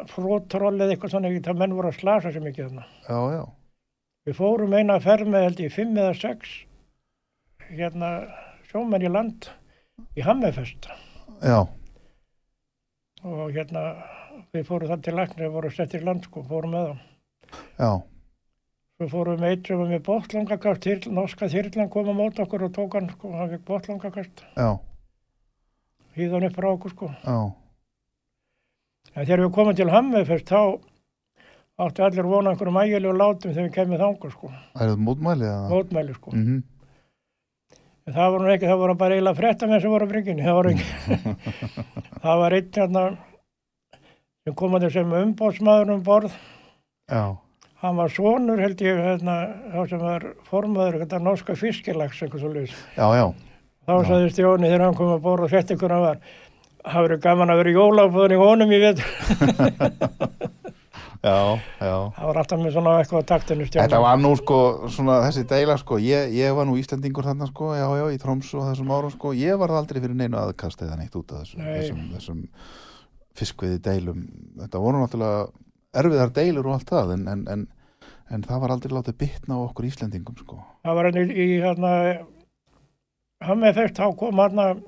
[SPEAKER 3] frótroll eða eitthvað svona, það menn voru að slasa sér mikið þarna.
[SPEAKER 2] Já, já.
[SPEAKER 3] Við fórum eina ferð með held ég fimm eða sex, hérna, sjómenn í land í Hammefest
[SPEAKER 2] Já,
[SPEAKER 3] og hérna, við fórum þar til læknir, við vorum settir í land sko, fórum með þá.
[SPEAKER 2] já.
[SPEAKER 3] Svo fórum við eitt sem var með botlangakast, þyrl, norska þyrlan kom á mót okkur og tók hann, sko, hann fekk botlangakast,
[SPEAKER 2] já,
[SPEAKER 3] hýðan upp frá okkur sko.
[SPEAKER 2] já,
[SPEAKER 3] En þegar við komum til Hammefest þá áttu allir vona einhverjum ægjulegu látum þegar við kemum þangað sko,
[SPEAKER 2] það eru mótmælið eða?
[SPEAKER 3] mótmæli sko.
[SPEAKER 2] Mhm,
[SPEAKER 3] En það voru nú ekki, það voru bara eiginlega frettamenn sem voru á brygginni, það voru ekki. það var einn hérna sem kom að þessum umbótsmaður um borð,
[SPEAKER 2] já,
[SPEAKER 3] hann var sonur held ég hérna, þá sem var formaður hérna norska fiskilags eitthvað svo lýs.
[SPEAKER 2] já, já,
[SPEAKER 3] Þá sagði Stjóni þegar hann kom að borð og þetta hvernig hann var, það verið gaman að vera jólaföðin í honum í vetur.
[SPEAKER 2] já, já.
[SPEAKER 3] það var alltaf með svona eitthvað á taktinu Stjóni.
[SPEAKER 2] Þetta var nú sko, svona þessi deila sko, ég, ég var nú Íslendingur þarna sko, já, já, í Tromsu og þessum árum sko, ég varð aldrei fyrir neinu aðkast eða neitt út af þessum,
[SPEAKER 3] Nei.
[SPEAKER 2] þessum, þessum fiskviði deilum. Þetta voru náttúrulega erfiðar deilur og allt það, en, en, en, en það var aldrei látið bitna á okkur Íslendingum sko.
[SPEAKER 3] Það var hann í, í hérna, hann með fyrst, þá kom hann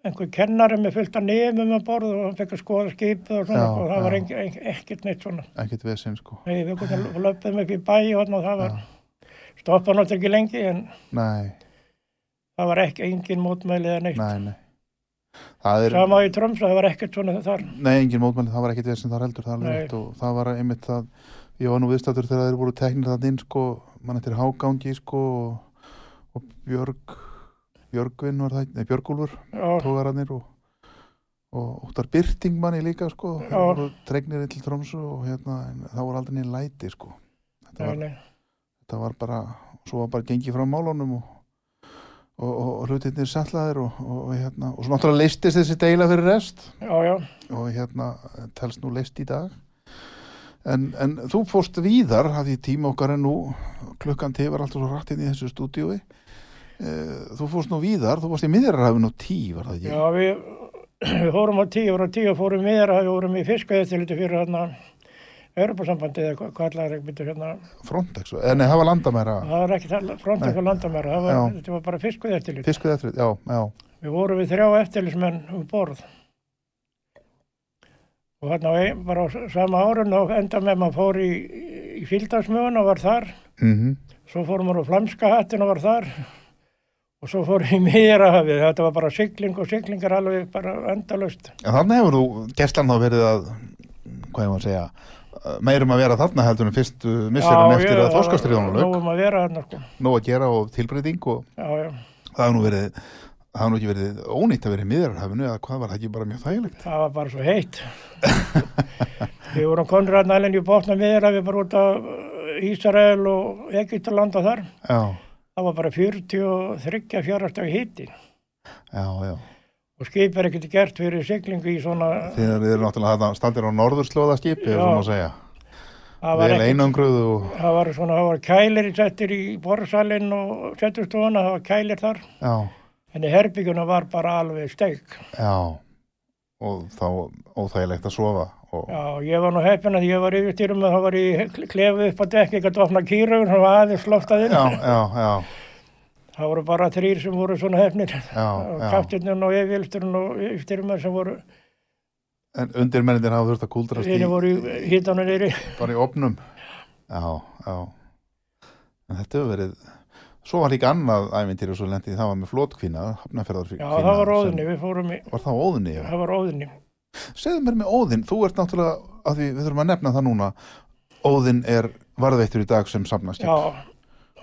[SPEAKER 3] einhver kennari með fullt að nefnum að borð og hann fekk að skoða skipið og svona
[SPEAKER 2] Já,
[SPEAKER 3] og það var
[SPEAKER 2] já.
[SPEAKER 3] engi, engi, ekkert neitt svona.
[SPEAKER 2] Ekkert vesinn sko.
[SPEAKER 3] Nei, við komum löpum upp í bæ og þarna og það var, stoppa náttúrulega ekki lengi en
[SPEAKER 2] Nei,
[SPEAKER 3] það var ekki engin mótmæli eða neitt.
[SPEAKER 2] nei, nei. Það er,
[SPEAKER 3] Sama í Trömsa, það var ekkert svona þar.
[SPEAKER 2] nei, engin mótmæli, það var ekkert vesinn þar heldur, það er alveg
[SPEAKER 3] Nei.
[SPEAKER 2] rétt og það var einmitt það, ég var nú viðstættur þegar þeir voru teknir þann inn sko, mann eftir hágangi sko og, og Björg, Björgvin var það, nei Björgúlfur,
[SPEAKER 3] Og,
[SPEAKER 2] tógararnir og, og Óttar Byrting manni líka sko, þeir
[SPEAKER 3] Já.
[SPEAKER 2] voru tregnir inn til Tromsu og hérna, en það voru aldrei neinn læti sko, þetta var,
[SPEAKER 3] nei, nei.
[SPEAKER 2] þetta var bara, svo var bara gengið frá málunum og, og, og, og hlutinir sallaðir og, og, og hérna, og svo náttúrulega leistist þessi deila fyrir rest
[SPEAKER 3] Já, já,
[SPEAKER 2] og hérna telst nú leist í dag en, en þú fórst víðar af því tíma okkar en nú klukkan tifar alltaf svo rætt inn í þessu stúdíói Eh, þú fórst nú víðar þú varst í miðjarrafin og tí var það ekki
[SPEAKER 3] já, við, við fórum á tíu, vorum á tíu og fórum meira, við vorum í fiskaðistiliti fyrir hérna, Europasambandið eða hvað- hvað allar ekki byrja hérna,
[SPEAKER 2] Frontex, eh, nei það var landamæra
[SPEAKER 3] Það var ekki það frontex og landamæra, það
[SPEAKER 2] Já.
[SPEAKER 3] var, þetta var bara fiskuð eftirlit.
[SPEAKER 2] fiskuð eftir, já, já,
[SPEAKER 3] Við vorum við þrjá eftirlismenn um borð. Og þarna á ein- bara á s- sama árun og enda með maður fór í, í fylgdagsmögun og var þar.
[SPEAKER 2] mhm
[SPEAKER 3] Svo fórum maður á flamska hattin og var þar. Og svo fórum við meira hafið, þetta var bara sigling og siglingar alveg bara endalaust.
[SPEAKER 2] en þannig hefur þú gæstlan þá verið að hvað ég maður að segja eh, meirum að vera þarna heldur en fyrst misserinn eftir að þorskastriðunum lög,
[SPEAKER 3] Nóum að vera þarna sko.
[SPEAKER 2] nóg að gera og tilbreyting og
[SPEAKER 3] Já, já.
[SPEAKER 2] það hefur nú verið það hefur nú ekki verið ónýtt að vera í miðjararhafinu eða hvað var það ekki bara mjög þægilegt
[SPEAKER 3] Það var bara svo heitt. við vorum konur að nælinn í botna miður að við bara út af Ísrael og Egyptaland og þar.
[SPEAKER 2] já,
[SPEAKER 3] Það var bara 43-4 stagi hitti
[SPEAKER 2] já, já
[SPEAKER 3] og skip er ekkert gert fyrir siglingu í svona,
[SPEAKER 2] þegar þið eru náttúrulega þarna standir á norðurslóðaskipi
[SPEAKER 3] Já.
[SPEAKER 2] eða svona að segja,
[SPEAKER 3] það var,
[SPEAKER 2] vel
[SPEAKER 3] ekki,
[SPEAKER 2] einangruð og
[SPEAKER 3] það var svona, það var kælir settir í borðsalinn og settustofuna, það var kælir þar.
[SPEAKER 2] já,
[SPEAKER 3] En í herbygguna var bara alveg steik.
[SPEAKER 2] já og þá óþægilegt að sofa og,
[SPEAKER 3] Já, og ég var nú heppin að ég var yfirstýrum og það var í klefu upp á dekk, ég gæti opna kýraugur, það var aðeins loftað inn.
[SPEAKER 2] já, já, já,
[SPEAKER 3] Það voru bara þrýr sem voru svona hefnir.
[SPEAKER 2] Já, já.
[SPEAKER 3] Kaptirnun og yfirvilsturinn og yfirstyrmenn sem voru,
[SPEAKER 2] en undirmennindir hafa þurft að kúldrast í,
[SPEAKER 3] einu voru í hýtanum nýri.
[SPEAKER 2] bara í opnum já, já en þetta hefur verið svo var líka annað ævintýri og svo lendið það var með flótkvinna,
[SPEAKER 3] Já,
[SPEAKER 2] hafnafjörðarkvinna
[SPEAKER 3] það var óðinni, við fórum í,
[SPEAKER 2] var það óðinni, já
[SPEAKER 3] það var óðinni.
[SPEAKER 2] Segðu mér með Óðinn, þú ert náttúrulega að því við þurfum að nefna það núna Óðinn er varðveittur í dag sem samnast
[SPEAKER 3] Já. Og,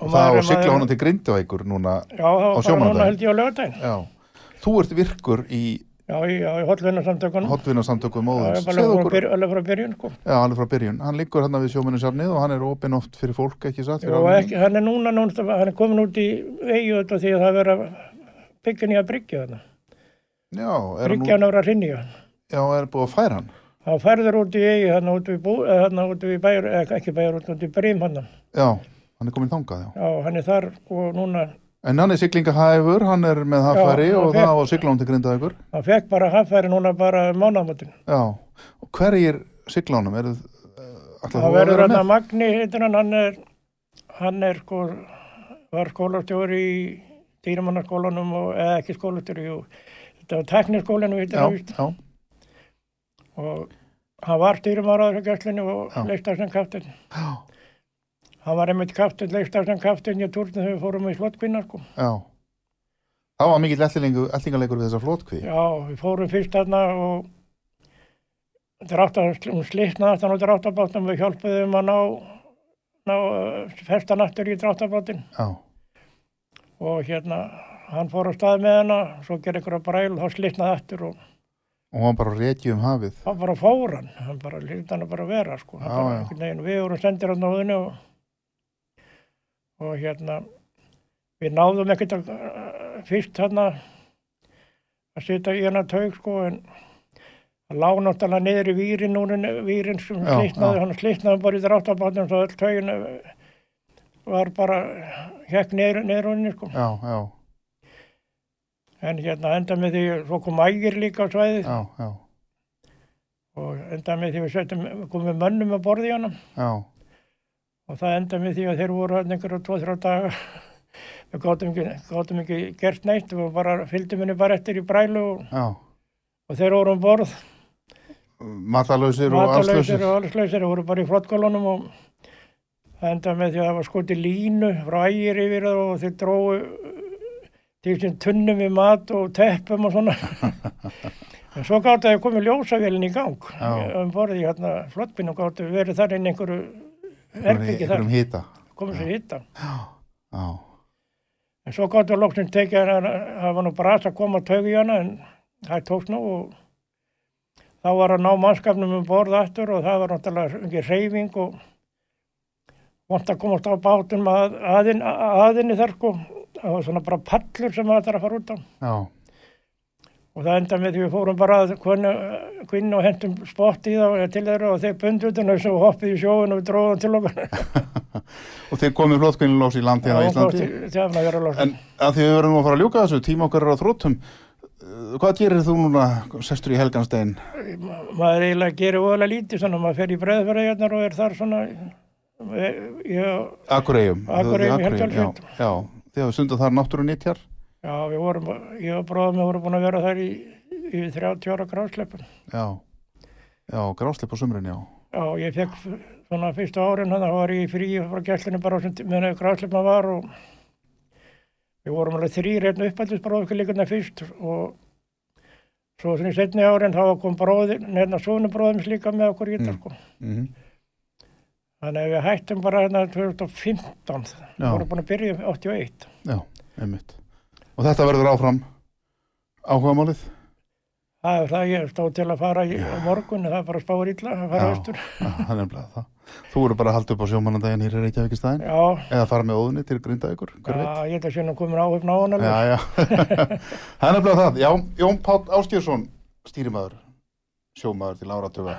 [SPEAKER 2] og það
[SPEAKER 3] maður-
[SPEAKER 2] á sigla
[SPEAKER 3] maður-
[SPEAKER 2] honum til grindavækur núna
[SPEAKER 3] Já, það
[SPEAKER 2] á
[SPEAKER 3] var bara
[SPEAKER 2] sjómannadaginn.
[SPEAKER 3] núna held ég á lögadaginn.
[SPEAKER 2] Já, þú ert virkur í
[SPEAKER 3] Já, í- já, í hotlunarsamtökunum.
[SPEAKER 2] hotvinnarsamtökum
[SPEAKER 3] Það er
[SPEAKER 2] Óðins
[SPEAKER 3] bara
[SPEAKER 2] Segðu
[SPEAKER 3] alveg frá
[SPEAKER 2] okkur,
[SPEAKER 3] byr- alveg frá byrjun, sko.
[SPEAKER 2] já, alveg frá byrjun hann liggur hérna við sjómanninsafnið og hann er opinn oft fyrir fólk, ekki satt? fyrir
[SPEAKER 3] Og
[SPEAKER 2] almenning.
[SPEAKER 3] ekki, hann er núna, núna, hann er komin út í vegi út af því að það verið að byggja nýja bryggja þarna.
[SPEAKER 2] Já, er, hann nú,
[SPEAKER 3] Bryggjan ára hrinnja.
[SPEAKER 2] já, er búið að færa hann
[SPEAKER 3] Það ferður út í vegi, hann út í, bú, eh, þarna út í bæjar, eh, ekki bæjar, út í brím hann.
[SPEAKER 2] Já, hann er komin þangað, já
[SPEAKER 3] Já, hann er þar og núna,
[SPEAKER 2] En hann er siglingahæfur, hann er með haffari
[SPEAKER 3] Já,
[SPEAKER 2] og
[SPEAKER 3] ok.
[SPEAKER 2] það á sigla honum til grindavækur
[SPEAKER 3] hann fekk bara haffæri núna bara um mánamótin.
[SPEAKER 2] Já, og hverjir sigla honum? Eru, eh, ætlar þú
[SPEAKER 3] Það
[SPEAKER 2] að
[SPEAKER 3] verður
[SPEAKER 2] vera
[SPEAKER 3] hann
[SPEAKER 2] með?
[SPEAKER 3] að Magni, heitir hann, hann er, hann er sko, var skólastjóri í dýramannaskólanum og, eða ekki skólastjóri, jú, þetta var tekniskólinu, heitir
[SPEAKER 2] Já,
[SPEAKER 3] hann, víst.
[SPEAKER 2] já,
[SPEAKER 3] og hann var dýramaraður á gæslinni og
[SPEAKER 2] Já.
[SPEAKER 3] leiktar sem kaptinn.
[SPEAKER 2] já,
[SPEAKER 3] Hann var einmitt kaftin, leikst af sem kaftin í turnið þegar við fórum í slottkvinna sko.
[SPEAKER 2] Já. Það var mikill ellingu- eltingaleikur við þessa flótkví.
[SPEAKER 3] Já, við fórum fyrst þarna og dráttar, hún slitnaði aftan á dráttarbátnum, við hjálpuðum að ná, ná eh, festan aftur í dráttarbátin
[SPEAKER 2] Já.
[SPEAKER 3] og hérna, hann fór á stað með hana, svo gerði ykkur að bræl, þá slitnaði aftur og
[SPEAKER 2] Og hann bara reykja um hafið.
[SPEAKER 3] hann bara fór hann, hann bara lítið hann að bara vera sko, hann
[SPEAKER 2] Já,
[SPEAKER 3] bara
[SPEAKER 2] já.
[SPEAKER 3] einhvern veginn, við vorum sendir hann á þunni og, og hérna við náðum ekkert að eh, fyrst hann að sitja í hann að taug sko en hann lá náttúrulega niður í vírin núna, vírin sem
[SPEAKER 2] Já, já.
[SPEAKER 3] slitnaði, hann slitnaði bara í dráttabátnum svo öll taugin eh, var bara hekk niður, niður húnni sko,
[SPEAKER 2] Já, já,
[SPEAKER 3] en hérna enda með því, svo kom ægir líka á svæðið
[SPEAKER 2] já, já,
[SPEAKER 3] og enda með því við settum, komum mönnum að borði í hann
[SPEAKER 2] já.
[SPEAKER 3] og það enda með því að þeir voru hann einhverja tvo-þrjá daga við gátum ekki, gátum ekki gert neitt við bara fylgdum henni bara eftir í brælu og,
[SPEAKER 2] já.
[SPEAKER 3] og þeir voru um borð
[SPEAKER 2] Matalösir og
[SPEAKER 3] matalösir
[SPEAKER 2] allslausir.
[SPEAKER 3] og allslausir þeir voru bara í flottkólunum og það enda með því að það var skoti línu frá ægir yfir það og þeir dróu til sem tunnum í mat og teppum og svona en svo gáttu að komið ljósavélin í gang
[SPEAKER 2] Já.
[SPEAKER 3] um borði hérna flottbinu gáttu verið þar inn í einhverju erbyggi þar,
[SPEAKER 2] Einhverjum hita.
[SPEAKER 3] komið sér hittan
[SPEAKER 2] Já,
[SPEAKER 3] En svo gott við loksinn tekið hann, það var nú brasa að koma að tauga í hana en það tókst nú og þá var að ná mannskapnum um borð aftur og það var náttúrulega ekki reyfing og vant að komast á bátum að, aðin, aðinni þar sko. Það var svona bara pallur sem maður þarf að fara út á
[SPEAKER 2] já,
[SPEAKER 3] og það enda með því við fórum bara að kvinn og hentum spott í það til þeirra og þeir bundu utan þessu og hoppið í sjóin og við dróðum til okkar.
[SPEAKER 2] Og þeir komið flótkvinni lós í landi hérna á Íslandi.
[SPEAKER 3] Það var að vera
[SPEAKER 2] En að því við verðum að fara að ljúka þessu, tíma okkar er á þróttum. Uh, Hvað gerir þú núna, sestur í helganstein?
[SPEAKER 3] Ma- maður eiginlega gerir óalega lítið svona, maður fer í breðfjörðarjarnar og er þar svona e- já,
[SPEAKER 2] Akureyjum.
[SPEAKER 3] Akureyjum í
[SPEAKER 2] já.
[SPEAKER 3] Helgafellssveit.
[SPEAKER 2] Já, þið hafa sundað þar náttúru nýttjar.
[SPEAKER 3] já, við vorum, ég og bróðum við vorum búin að vera þar í, í 30 ára grásleppum
[SPEAKER 2] Já, já, gráslepp á sumrin, já.
[SPEAKER 3] já, ég fekk f- svona fyrstu árin þannig að var ég í frí frá gæslinu bara á sem tí- meðan grásleppa var og við vorum alveg þrýr hérna uppættisbróð okkur líka fyrst og svo svona í setni árin þá kom bróðin, hérna sonubróðum líka með okkur í þetta
[SPEAKER 2] Mm.
[SPEAKER 3] sko
[SPEAKER 2] Mm
[SPEAKER 3] Þannig að við hættum bara hérna 2015,
[SPEAKER 2] Já.
[SPEAKER 3] vorum búin að byrja í 81.
[SPEAKER 2] Já, einmitt. Og þetta verður áfram áhugamálið?
[SPEAKER 3] Það er það ég stóð til að fara í á morgun, það er bara spáir illa að fara austur.
[SPEAKER 2] Já, það er nefnilega það. Þú eru bara að halda upp á sjómanandaginn hér í Reykjavík í staðinn?
[SPEAKER 3] Já,
[SPEAKER 2] Eða fara með óðunni til Grindavíkur, hver veit?
[SPEAKER 3] já ég held að sjöna komin áhugn á hana.
[SPEAKER 2] Já, já. það er nefnilega það. Já, Jón Páll Áskjörsson, stýrimaður, sjómaður til áratuga.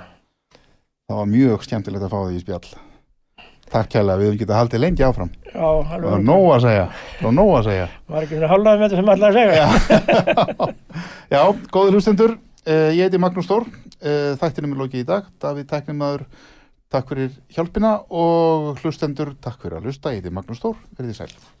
[SPEAKER 2] Það var mjög skemmtilegt að fá því í spjall. Takk kælega, við höfum getað haldið lengi áfram.
[SPEAKER 3] já alveg,
[SPEAKER 2] Það var nóg að segja, það var nóg að segja.
[SPEAKER 3] maður er ekki með halvaði með þetta sem alltaf að segja.
[SPEAKER 2] Já, góðir hlustendur, uh, ég heiti Magnús Stór, uh, þættinum er lokið í dag, Davíð Tæknimaður, takk fyrir hjálpina og hlustendur, takk fyrir að hlusta, ég heiti Magnús Stór, verðið sæl.